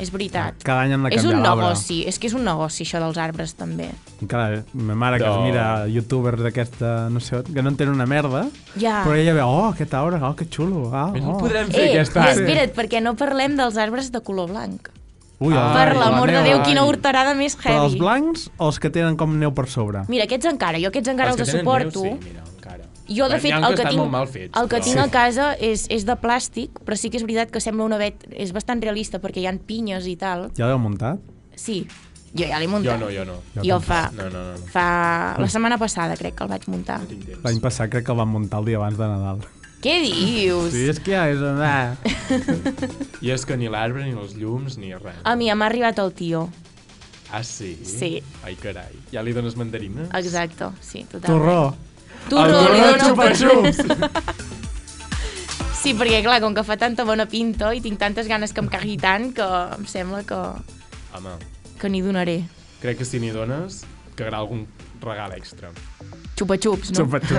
Speaker 2: És veritat.
Speaker 1: Cada any han de
Speaker 2: és un
Speaker 1: canviar l'arbre.
Speaker 2: negoci, és que és un negoci això dels arbres també.
Speaker 1: Encara, ma mare que
Speaker 3: No.
Speaker 1: es mira youtubers d'aquesta, no sé, que no entenen una merda,
Speaker 2: Ja.
Speaker 1: però ella ve, oh, aquest arbre, oh, que xulo, ah,
Speaker 3: Mira,
Speaker 1: oh.
Speaker 3: el podrem fer
Speaker 2: Eh,
Speaker 3: aquest any.
Speaker 2: espera't, perquè no parlem dels arbres de color blanc.
Speaker 1: Ui,
Speaker 3: Ah,
Speaker 1: ai,
Speaker 2: Per l'amor de
Speaker 1: neu.
Speaker 2: Déu,
Speaker 3: ai.
Speaker 2: quina horterada més
Speaker 1: Però els
Speaker 2: heavy.
Speaker 1: blancs o els que tenen com neu per sobre?
Speaker 2: Mira, aquests encara, jo aquests encara els,
Speaker 3: que
Speaker 2: els
Speaker 3: tenen neu,
Speaker 2: suporto.
Speaker 3: sí, mira, encara.
Speaker 2: Jo, de
Speaker 3: Bueno,
Speaker 2: fet,
Speaker 3: n'hi ha
Speaker 2: el que,
Speaker 3: estan molt
Speaker 2: tinc,
Speaker 3: mal fets,
Speaker 2: el que
Speaker 3: però-
Speaker 2: tinc a casa és, és de plàstic, però sí que és veritat que sembla un avet, és bastant realista perquè hi han pinyes i tal.
Speaker 1: Ja l'heu muntat?
Speaker 2: Sí, jo ja l'he
Speaker 3: Jo
Speaker 2: muntat.
Speaker 3: no, jo no.
Speaker 1: Jo
Speaker 2: Jo
Speaker 1: tampoc.
Speaker 2: Ah. fa,
Speaker 3: No, no, no. no.
Speaker 2: fa... La setmana passada crec que el vaig muntar.
Speaker 3: No tinc temps.
Speaker 1: L'any passat crec que el van muntar el dia abans de Nadal.
Speaker 2: Què dius?
Speaker 1: Sí, és que ja és... Ah.
Speaker 3: I és que ni l'arbre, ni els llums, ni res.
Speaker 2: A mi ja m'ha arribat el tio.
Speaker 3: Ah, sí?
Speaker 2: Sí.
Speaker 3: Ai, carai. Ja li dones mandarina?
Speaker 2: Exacte, sí, totalment.
Speaker 1: Torró.
Speaker 2: Torró,
Speaker 3: El
Speaker 2: li
Speaker 3: torró
Speaker 2: dono
Speaker 3: xupa
Speaker 2: el
Speaker 3: xups.
Speaker 2: Sí, perquè clar, com que fa tanta bona pinta i tinc tantes ganes que em cagui tant que em sembla que,
Speaker 3: Home,
Speaker 2: que n'hi donaré.
Speaker 3: crec que si n'hi dones, cagarà algun regal extra.
Speaker 2: Xupa-xups, no?
Speaker 1: Xupa tu.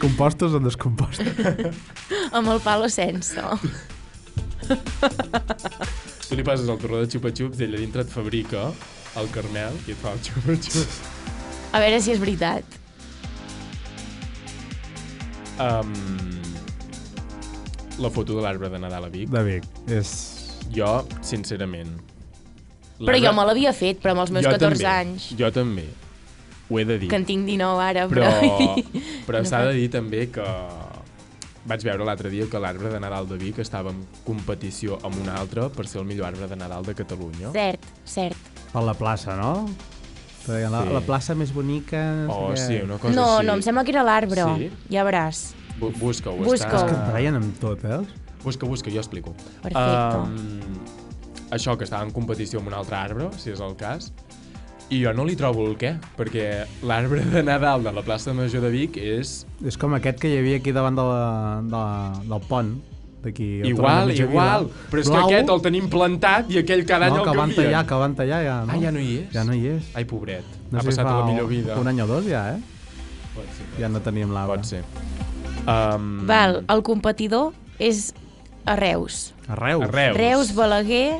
Speaker 1: Compostos o descompostos?
Speaker 2: Amb el palo sense.
Speaker 3: Tu li passes el torró de xupa-xups i ella dintre et fabrica el carmel i et fa el xupa-xups.
Speaker 2: A veure si és veritat.
Speaker 3: Um, la foto de l'arbre de Nadal a Vic.
Speaker 1: De Vic. És...
Speaker 3: Jo, sincerament...
Speaker 2: Però jo me l'havia fet, però amb els meus
Speaker 3: jo
Speaker 2: 14
Speaker 3: també,
Speaker 2: anys.
Speaker 3: Jo també. Ho he de dir.
Speaker 2: Que en tinc 19 ara,
Speaker 3: Però,
Speaker 2: però... vull dir,
Speaker 3: però
Speaker 2: no
Speaker 3: s'ha
Speaker 2: fa-
Speaker 3: de dir també que vaig veure l'altre dia que l'arbre de Nadal de Vic estava en competició amb un altre per ser el millor arbre de Nadal de Catalunya.
Speaker 2: Cert, cert.
Speaker 1: Per la plaça, no? Te deien, La,
Speaker 3: Sí.
Speaker 1: la plaça més bonica... no sé
Speaker 3: Oh,
Speaker 1: què.
Speaker 3: sí, una cosa
Speaker 2: no,
Speaker 3: així.
Speaker 2: no, em sembla que era l'arbre.
Speaker 3: Sí?
Speaker 2: Ja veuràs.
Speaker 3: Bu- Busca-ho.
Speaker 2: Busca-ho.
Speaker 1: Que et
Speaker 3: Està...
Speaker 1: barallen amb tot, eh?
Speaker 3: Busca, busca, jo explico.
Speaker 2: Perfecte.
Speaker 3: Um, això, que estava en competició amb un altre arbre, si és el cas, i jo no li trobo el què, perquè l'arbre de Nadal de la plaça Major de Vic és
Speaker 1: És com aquest que hi havia aquí davant de la, de la, del pont. D'aquí. al
Speaker 3: igual,
Speaker 1: Torre de Mitja
Speaker 3: igual,
Speaker 1: Vila.
Speaker 3: però és
Speaker 1: Blau,
Speaker 3: que aquest el tenim plantat i aquell cada
Speaker 1: no,
Speaker 3: any el
Speaker 1: que van
Speaker 3: canvien.
Speaker 1: tallar, que van tallar ja, no?
Speaker 3: Ah, ja no hi és?
Speaker 1: Ja no hi és.
Speaker 3: Ai, pobret.
Speaker 1: No
Speaker 3: ha
Speaker 1: sé si
Speaker 3: passat
Speaker 1: fa
Speaker 3: la
Speaker 1: un-
Speaker 3: millor vida.
Speaker 1: Un any Ah, o dos ja, eh?
Speaker 3: Pot ser, pot
Speaker 1: Ja no teníem
Speaker 3: ser.
Speaker 1: l'arbre.
Speaker 3: Pot ser. Um,
Speaker 2: Val, el competidor és a Reus.
Speaker 1: A Reus.
Speaker 3: A Reus.
Speaker 2: Reus, Balaguer,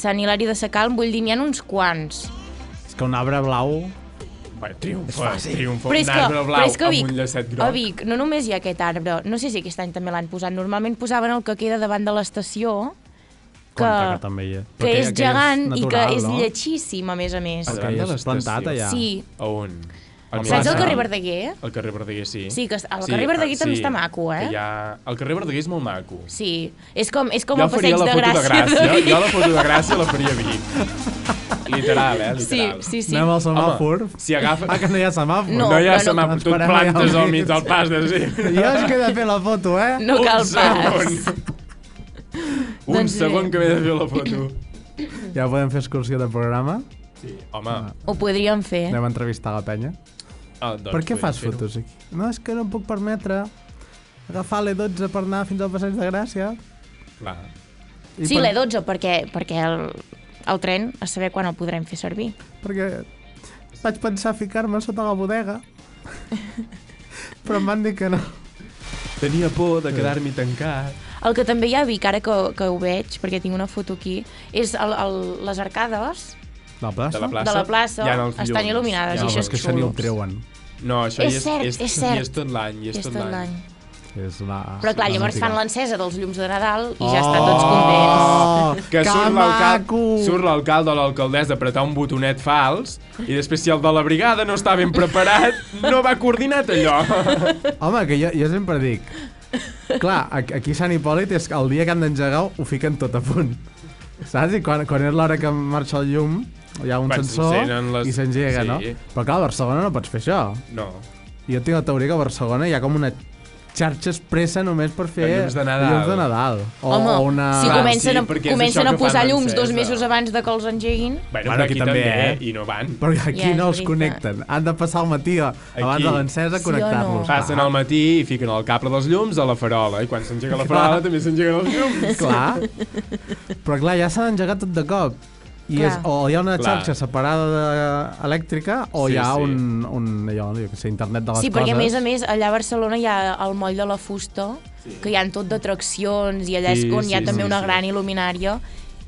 Speaker 2: Sant Hilari de Sacalm, vull dir, n'hi ha uns quants.
Speaker 1: És que un arbre blau...
Speaker 3: Va, triomfa, triomfa.
Speaker 2: Però és,
Speaker 3: un
Speaker 2: que,
Speaker 3: arbre blau
Speaker 2: però és que a
Speaker 3: amb
Speaker 2: Vic,
Speaker 3: un llacet groc.
Speaker 2: a Vic no només hi ha aquest arbre, no sé si aquest any també l'han posat, normalment posaven el que queda davant de l'estació,
Speaker 1: Que,
Speaker 2: que,
Speaker 1: que també hi és.
Speaker 2: que és gegant i que és
Speaker 1: no?
Speaker 2: lletxíssim, a més a més.
Speaker 3: Ah,
Speaker 1: Davant de
Speaker 3: Que és
Speaker 1: plantat allà.
Speaker 3: plantació.
Speaker 2: Sí.
Speaker 3: A on? Al
Speaker 2: Saps
Speaker 1: plaça.
Speaker 2: el carrer Verdaguer?
Speaker 3: El carrer Verdaguer, sí. ah,
Speaker 2: Sí, que el carrer Verdaguer també està maco, eh?
Speaker 3: Que hi ha... El carrer Verdaguer és molt maco.
Speaker 2: Sí, és com, és com
Speaker 3: jo
Speaker 2: el passeig
Speaker 3: faria la
Speaker 2: de
Speaker 3: foto
Speaker 2: gràcia.
Speaker 3: de gràcia.
Speaker 2: David.
Speaker 3: Jo la foto de gràcia la faria a Vic. Literal, eh?
Speaker 2: Sí,
Speaker 3: Literal.
Speaker 2: sí, sí.
Speaker 1: Anem al semàfor.
Speaker 3: Home, si agafa...
Speaker 1: Ah, que no hi ha semàfor.
Speaker 2: No,
Speaker 3: No, hi ha
Speaker 2: però no-
Speaker 3: semàfor, tu et
Speaker 1: Esperem allà
Speaker 3: plantes
Speaker 1: al
Speaker 3: al mig
Speaker 1: mig.
Speaker 3: del pas de zebra.
Speaker 1: Jo és que he de fer la foto, eh?
Speaker 2: No cal
Speaker 3: un
Speaker 2: pas.
Speaker 3: Segon. un
Speaker 2: Doncs bé.
Speaker 3: segon que m'he de fer la foto.
Speaker 1: Ja podem fer excursió de programa.
Speaker 2: Eh?
Speaker 3: Sí, home,
Speaker 1: Ah.
Speaker 2: Ho podríem fer.
Speaker 1: Anem a entrevistar la penya.
Speaker 3: ah, doncs
Speaker 1: per què
Speaker 3: podríem
Speaker 1: fas
Speaker 3: fer-ho.
Speaker 1: fotos aquí? No, és que no em puc permetre agafar l'E12 per anar fins al passeig de Gràcia.
Speaker 3: Clar.
Speaker 1: I
Speaker 2: Sí,
Speaker 1: per-
Speaker 2: l'E12, perquè, perquè el, el tren, a saber quan el podrem fer servir.
Speaker 1: Perquè vaig pensar ficar-me sota la bodega, però em van dir que no.
Speaker 3: Tenia por de quedar-m'hi tancat.
Speaker 2: El que també hi ha a Vic, ara que, que ho veig, perquè tinc una foto aquí, és el, el, les arcades
Speaker 1: La plaça?
Speaker 3: De la plaça.
Speaker 2: de la plaça
Speaker 3: hi ha els
Speaker 2: estan
Speaker 3: llums.
Speaker 2: il·luminades
Speaker 3: Hi
Speaker 1: Ja,
Speaker 2: i això
Speaker 3: ha
Speaker 1: però
Speaker 2: és
Speaker 1: és que
Speaker 2: xulo.
Speaker 1: això ni ho treuen.
Speaker 3: No, això
Speaker 2: És
Speaker 3: hi és,
Speaker 2: cert,
Speaker 3: és,
Speaker 2: és cert.
Speaker 3: hi és tot l'any, hi és tot l'any.
Speaker 1: És una...
Speaker 2: Però clar, llavors fan
Speaker 1: la...
Speaker 2: l'encesa dels llums de Nadal i
Speaker 3: Oh!
Speaker 2: ja estan tots contents.
Speaker 3: Ah, Que, surt l'alcalde
Speaker 1: maco!
Speaker 3: surt l'alcalde o l'alcaldessa apretar un botonet fals i després si el de la brigada no està ben preparat, no va coordinat allò.
Speaker 1: Home, que jo, jo sempre dic... Clar, a- aquí a Sant Hipòlit és que el dia que han d'engegar ho fiquen tot a punt. Saps? I quan, quan és l'hora que marxa el llum, hi ha un
Speaker 3: Quan
Speaker 1: sensor
Speaker 3: s'encenen les-
Speaker 1: i s'engega,
Speaker 3: Sí.
Speaker 1: no? Però clar, a Barcelona no pots fer això.
Speaker 3: No.
Speaker 1: Jo tinc la teoria que a Barcelona hi ha com una xarxa expressa només per fer
Speaker 3: De llums de Nadal.
Speaker 1: llums de Nadal. O,
Speaker 2: Home,
Speaker 1: o una...
Speaker 2: si
Speaker 3: Clar,
Speaker 2: comencen,
Speaker 3: Oh, Ah, sí,
Speaker 2: a,
Speaker 3: perquè és
Speaker 2: comencen a
Speaker 3: això que fan
Speaker 2: posar llums dos
Speaker 3: l'encesa.
Speaker 2: mesos abans de que els engeguin,
Speaker 3: Bueno,
Speaker 1: Bueno,
Speaker 3: però
Speaker 1: aquí
Speaker 3: aquí, també,
Speaker 1: també,
Speaker 3: eh? i no van.
Speaker 1: Perquè aquí
Speaker 2: Ja, és
Speaker 1: no els
Speaker 2: veritat.
Speaker 1: connecten. Han de passar el matí a- abans
Speaker 3: Aquí.
Speaker 1: de l'encesa
Speaker 2: Sí o
Speaker 1: connectar-los.
Speaker 2: no?
Speaker 3: Passen al matí i fiquen el cable dels llums a la farola i quan s'engega la farola
Speaker 1: Clar.
Speaker 3: també s'engeguen els llums.
Speaker 1: Clar. Però clar, ja s'ha engegat tot de cop. I
Speaker 2: Clar.
Speaker 1: és, o hi ha una
Speaker 3: Clar.
Speaker 1: xarxa separada de, elèctrica o
Speaker 3: Sí,
Speaker 1: hi ha
Speaker 3: sí.
Speaker 1: un, un allò, jo que sé, internet de les
Speaker 2: Sí,
Speaker 1: coses.
Speaker 2: perquè a més a més allà a Barcelona hi ha el moll de la fusta, sí. que hi han tot d'atraccions i allà és
Speaker 3: Sí,
Speaker 2: on hi ha
Speaker 3: sí,
Speaker 2: també
Speaker 3: sí,
Speaker 2: una
Speaker 3: sí.
Speaker 2: gran il·luminària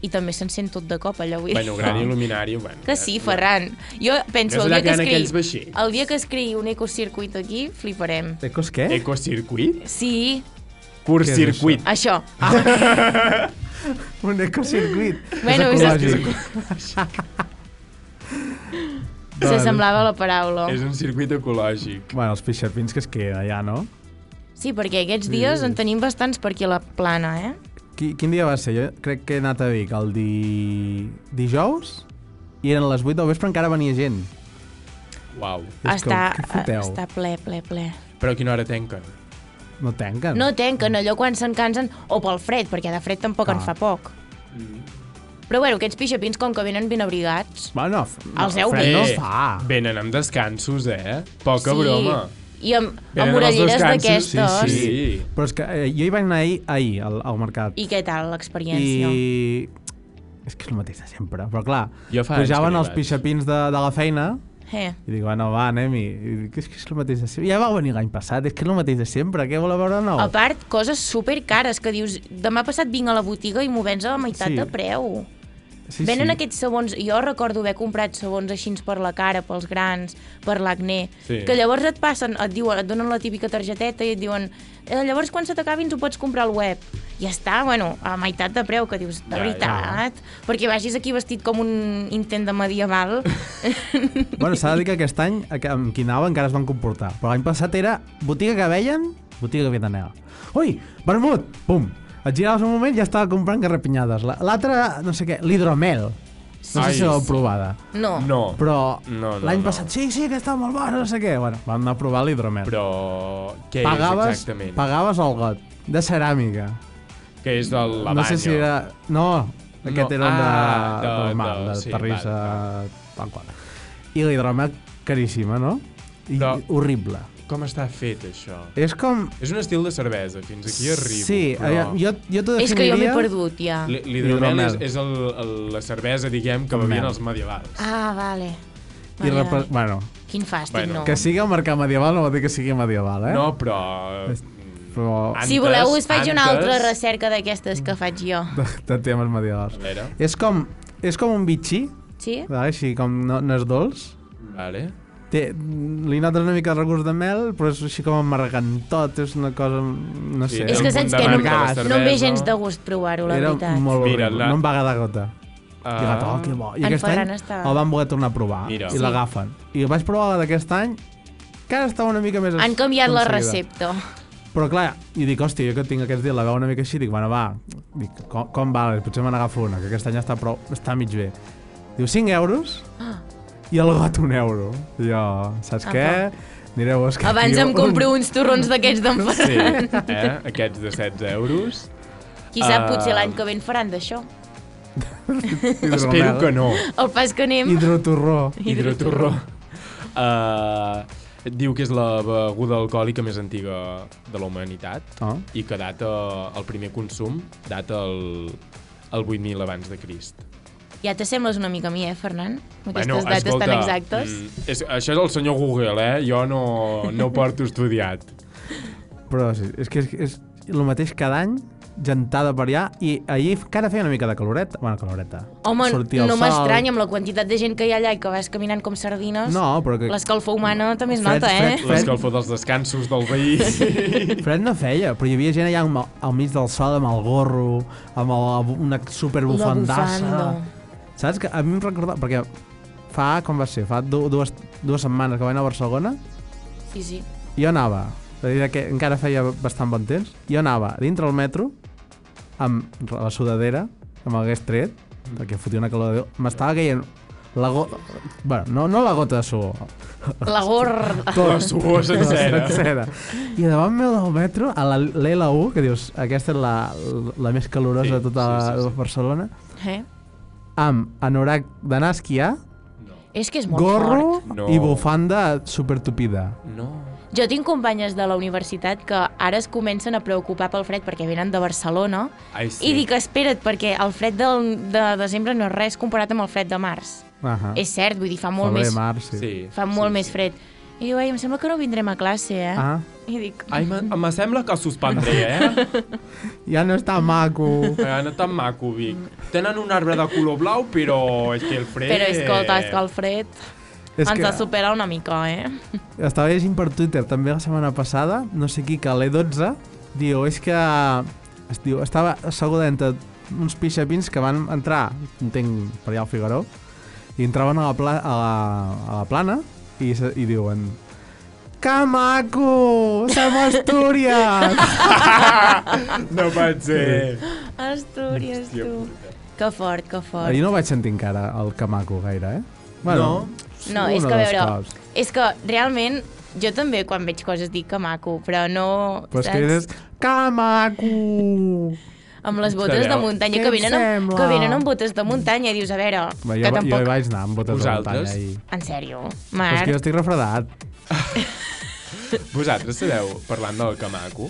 Speaker 2: i també s'encén tot de cop allò. Vull dir.
Speaker 3: Bueno, gran il·luminari, bueno.
Speaker 2: Que sí, Ferran. Jo penso,
Speaker 3: No
Speaker 2: el
Speaker 3: és allà
Speaker 2: dia que,
Speaker 3: que hi ha aquells
Speaker 2: es creï,
Speaker 3: vaixells.
Speaker 2: el dia que es creï un ecocircuit aquí, fliparem.
Speaker 1: Ecos què?
Speaker 3: Ecocircuit?
Speaker 2: Sí,
Speaker 3: Curtcircuit.
Speaker 2: eh? això. Ah,
Speaker 1: Un ecocircuit.
Speaker 2: Bueno,
Speaker 1: és
Speaker 2: és-
Speaker 1: ecològic.
Speaker 2: se semblava la paraula.
Speaker 3: És un circuit ecològic.
Speaker 1: Bueno, els pixapins que es queden allà, no?
Speaker 2: Sí, perquè aquests dies en tenim bastants per aquí a la plana, eh?
Speaker 1: Qui, quin dia va ser? Jo crec que he anat a Vic el di... dijous i eren les 8 del vespre encara venia gent.
Speaker 3: Uau.
Speaker 1: És
Speaker 2: està,
Speaker 1: com, què foteu?
Speaker 2: eh, està ple, ple, ple.
Speaker 3: Però a quina hora tanquen?
Speaker 1: No tanquen.
Speaker 2: No tanquen allò quan se'n cansen, o pel fred, perquè de fred tampoc en
Speaker 1: Ah.
Speaker 2: fa poc. Però bueno, aquests pixapins, com que venen ben abrigats...
Speaker 1: Bueno, f- no,
Speaker 2: Els heu
Speaker 1: fred no
Speaker 3: Eh,
Speaker 1: fa.
Speaker 3: Venen amb descansos, eh? Poca broma.
Speaker 2: I amb,
Speaker 3: Venen
Speaker 2: amb
Speaker 3: amb els
Speaker 2: orelleres
Speaker 3: descansos, sí,
Speaker 2: d'aquestes.
Speaker 3: sí.
Speaker 1: Però és que eh, jo hi vaig anar ahir, ahir al, al mercat.
Speaker 2: I què tal l'experiència? I...
Speaker 1: I... És que és el mateix de sempre. Però clar,
Speaker 3: Jo fa anys que
Speaker 1: pujaven
Speaker 3: no hi
Speaker 1: els
Speaker 3: vaig.
Speaker 1: pixapins de, de la feina
Speaker 2: Eh.
Speaker 1: i dic, bueno, va, anem-hi. I dic, És que és el mateix de sempre. Ja vau venir l'any passat, és que és el mateix de sempre. Què voleu veure de nou?
Speaker 2: A part, coses supercares que dius, demà passat vinc a la botiga i m'ho vens a la meitat
Speaker 1: Sí.
Speaker 2: sí. de preu.
Speaker 1: sí,
Speaker 2: Venen aquests sabons, jo recordo haver comprat sabons així per la cara, pels grans, per l'acné,
Speaker 3: Sí.
Speaker 2: que llavors et passen, et diuen, et donen la típica targeteta i et diuen eh, llavors quan se t'acabi ens ho pots comprar al web. I ja està, bueno, a meitat de preu, que dius, de
Speaker 3: Ja,
Speaker 2: ja, veritat, ja. perquè vagis aquí vestit com un intent de medieval.
Speaker 1: Bueno, s'ha de dir que aquest any, a- que- amb qui anava, encara es van comportar. Però l'any passat era botiga que veien, botiga que havia d'anar. Ui, vermut! Pum! Et giraves un moment i ja estava comprant garrapinyades. La- L'altra, no sé què, l'hidromel. No sé
Speaker 3: Ai,
Speaker 1: si l'heu
Speaker 3: sí.
Speaker 1: provada.
Speaker 2: No.
Speaker 3: No, però...
Speaker 1: Però
Speaker 3: No, no,
Speaker 1: l'any
Speaker 3: no.
Speaker 1: passat, sí, sí, que està molt bona, no sé què. Bueno, vam anar a provar l'hidromel.
Speaker 3: però què és
Speaker 1: Pagaves,
Speaker 3: exactament?
Speaker 1: pagaves el got de ceràmica.
Speaker 3: Que és del
Speaker 1: no
Speaker 3: labanyo.
Speaker 1: sé si era... No, aquest
Speaker 3: No,
Speaker 1: era el de,
Speaker 3: ah, de-
Speaker 1: del mar,
Speaker 3: de-
Speaker 1: de,
Speaker 3: sí,
Speaker 1: terrissa,
Speaker 3: val,
Speaker 1: tal qual. I l'hidromel caríssima, no? I
Speaker 3: No.
Speaker 1: horrible.
Speaker 3: Com està fet, això?
Speaker 1: És com...
Speaker 3: És un estil de cervesa, fins aquí arribo.
Speaker 1: Eh, sí, eh,
Speaker 3: però...
Speaker 1: jo, jo t'ho
Speaker 2: És que jo m'he
Speaker 1: definiria-
Speaker 2: perdut, ja.
Speaker 3: L- L'hidromel és,
Speaker 1: Hidromel.
Speaker 3: és el, el, la cervesa, diguem, que
Speaker 1: Amb
Speaker 3: bevien
Speaker 1: mel.
Speaker 3: els medievals.
Speaker 2: Ah, vale.
Speaker 1: I
Speaker 2: vale.
Speaker 1: repre...
Speaker 2: vale.
Speaker 1: Bueno,
Speaker 2: Quin fàstic,
Speaker 3: Bueno.
Speaker 2: no.
Speaker 1: que sigui el mercat medieval no vol dir que sigui medieval, eh?
Speaker 3: No, però... mm,
Speaker 1: És- però-
Speaker 3: Antes,
Speaker 2: Si voleu, us faig una
Speaker 3: antes-
Speaker 2: altra recerca d'aquestes que faig jo.
Speaker 1: De, de temes medievals.
Speaker 3: A veure,
Speaker 1: És com, és com un bitxí,
Speaker 2: Sí?
Speaker 1: vale? així com no, no és dolç.
Speaker 3: vale.
Speaker 1: Té, li notes una mica de regust de mel, però és així com amargantot, és una cosa... No
Speaker 3: Sí,
Speaker 1: sé.
Speaker 3: Era
Speaker 2: És
Speaker 3: un
Speaker 2: que
Speaker 3: punt
Speaker 2: saps
Speaker 3: de
Speaker 2: que no,
Speaker 1: marca de
Speaker 2: no em ve
Speaker 3: cervesa.
Speaker 2: gens de gust provar-ho, la
Speaker 1: Era
Speaker 2: veritat.
Speaker 1: molt
Speaker 3: Mira,
Speaker 1: horrible,
Speaker 3: la- Ah.
Speaker 1: no em va agradar gota. I la oh, que bo. I
Speaker 2: En
Speaker 1: aquest
Speaker 2: Ferran
Speaker 1: any
Speaker 2: està-
Speaker 1: el van voler tornar a provar
Speaker 3: Mira.
Speaker 1: i
Speaker 3: Sí.
Speaker 1: l'agafen. I vaig provar la d'aquest any, que ara estava una mica més
Speaker 2: Han canviat la
Speaker 1: aconseguida.
Speaker 2: recepta.
Speaker 1: Però clar, i dic, hòstia, jo que tinc aquests dies la veu una mica així, dic, bueno, va, dic, com, com val? Potser me n'agafo una, que aquest any està, prou, està mig bé. Diu, 5 euros i el got un euro. I jo, saps
Speaker 2: Apa.
Speaker 1: què? Aniré a buscar
Speaker 2: Ah, Abans
Speaker 1: aquí
Speaker 2: em compro uns torrons d'aquests d'en
Speaker 3: Sí,
Speaker 2: Ferran.
Speaker 3: eh? aquests de 16 euros.
Speaker 2: Qui sap,
Speaker 3: Ah.
Speaker 2: potser l'any que ve en faran d'això.
Speaker 1: hidromel.
Speaker 3: Espero que no.
Speaker 2: El pas que anem...
Speaker 1: Hidrotorró.
Speaker 3: Hidrotorró. Uh, diu que és la beguda alcohòlica més antiga de la humanitat
Speaker 1: Oh.
Speaker 3: i que data, eh, el primer consum data el, el 8.000 abans de Crist.
Speaker 2: Ja t'assembles una mica a mi, eh, Fernan? Amb aquestes dates tan exactes.
Speaker 3: Mm, és, això és el senyor Google, eh? Jo no, no ho porto estudiat.
Speaker 1: Però sí, és que és, és el mateix cada any, gentada per allà, i ahir encara feia una mica de caloreta. Bueno, caloreta.
Speaker 2: Home,
Speaker 1: Sortia el
Speaker 2: no
Speaker 1: sol.
Speaker 2: m'estranya amb la quantitat de gent que hi ha allà i que vas caminant com sardines.
Speaker 1: No, però que...
Speaker 2: L'escalfor humana també es
Speaker 1: Fred,
Speaker 2: nota, eh?
Speaker 1: fred, fred.
Speaker 3: L'escalfor dels descansos del veí.
Speaker 1: Fred no feia, però hi havia gent allà al, al mig del sol amb el gorro, amb el, una superbufandassa.
Speaker 2: bufanda.
Speaker 1: Saps que a mi em recordava... Perquè fa, com va ser, fa du, dues, dues setmanes que vaig anar a Barcelona,
Speaker 2: Sí, sí.
Speaker 1: jo anava, és a dir, que encara feia bastant bon temps, jo anava dintre el metro amb la sudadera, que m'hagués tret,
Speaker 3: Mm.
Speaker 1: perquè fotia una calor de Déu, m'estava caient la gota... Bueno, no, no la gota de suor,
Speaker 2: La gorra.
Speaker 3: La suor sencera.
Speaker 1: sencera. I davant meu del metro, a la- l'L1, que dius, aquesta és la, la més calorosa
Speaker 3: Sí,
Speaker 1: de tota
Speaker 3: sí, sí,
Speaker 1: la-
Speaker 3: sí.
Speaker 1: Barcelona,
Speaker 2: Eh?
Speaker 1: amb anorac d'anar a esquiar,
Speaker 3: No.
Speaker 2: És que és molt fort.
Speaker 1: gorro
Speaker 3: fort.
Speaker 1: i
Speaker 3: No.
Speaker 1: bufanda supertupida.
Speaker 3: No.
Speaker 2: Jo tinc companyes de la universitat que ara es comencen a preocupar pel fred perquè venen de Barcelona
Speaker 3: Ai,
Speaker 2: sí. i dic, espera't, perquè el fred del, de desembre no és res comparat amb el fred de març.
Speaker 1: Uh -huh.
Speaker 2: És cert, vull dir, fa molt més,
Speaker 1: Mar, sí.
Speaker 3: Sí,
Speaker 2: fa molt més fred. I diu, ai, em sembla que no vindrem a classe, eh?
Speaker 1: Ah,
Speaker 2: I dic,
Speaker 3: Ai, me, me sembla que suspendré, eh?
Speaker 1: ja no està maco.
Speaker 3: Eh, no tan maco, Vic. Tenen un arbre de color blau, però és que el fred... eh,
Speaker 2: però escolta, és que el fred
Speaker 1: És
Speaker 2: ens
Speaker 1: que
Speaker 2: ha superat una mica, eh?
Speaker 1: estava llegint per Twitter també la setmana passada, no sé qui, que a l'E12 diu, és que es diu, estava asseguda entre uns pixapins que van entrar, entenc, per allà al Figaró, i entraven a la, pla a la, a la plana i, se- i diuen que maco! Som a Astúries!
Speaker 3: No pot ser.
Speaker 2: Astúries,
Speaker 3: Hòstia
Speaker 2: tu.
Speaker 3: puta.
Speaker 2: Que fort, que fort.
Speaker 1: jo no vaig sentir encara el que maco gaire, eh?
Speaker 3: No.
Speaker 2: No,
Speaker 1: un
Speaker 2: és
Speaker 1: o
Speaker 2: que a
Speaker 1: dos
Speaker 2: veure,
Speaker 1: cops.
Speaker 2: és que realment jo també quan veig coses dic que maco, però no...
Speaker 1: Però és que dius, que maco!
Speaker 2: Amb les botes de
Speaker 3: Sabeu?
Speaker 2: muntanya,
Speaker 1: Què
Speaker 2: que
Speaker 1: em
Speaker 2: venen, amb,
Speaker 1: sembla?
Speaker 2: que venen amb botes de muntanya, dius, a veure,
Speaker 1: Va,
Speaker 2: que
Speaker 1: jo,
Speaker 2: tampoc...
Speaker 1: jo hi vaig anar amb botes de
Speaker 3: Vosaltres?
Speaker 1: muntanya i...
Speaker 2: En sèrio,
Speaker 1: Però és
Speaker 2: Marc,
Speaker 1: que jo estic refredat.
Speaker 3: Vosaltres sabeu, parlant del Camaco,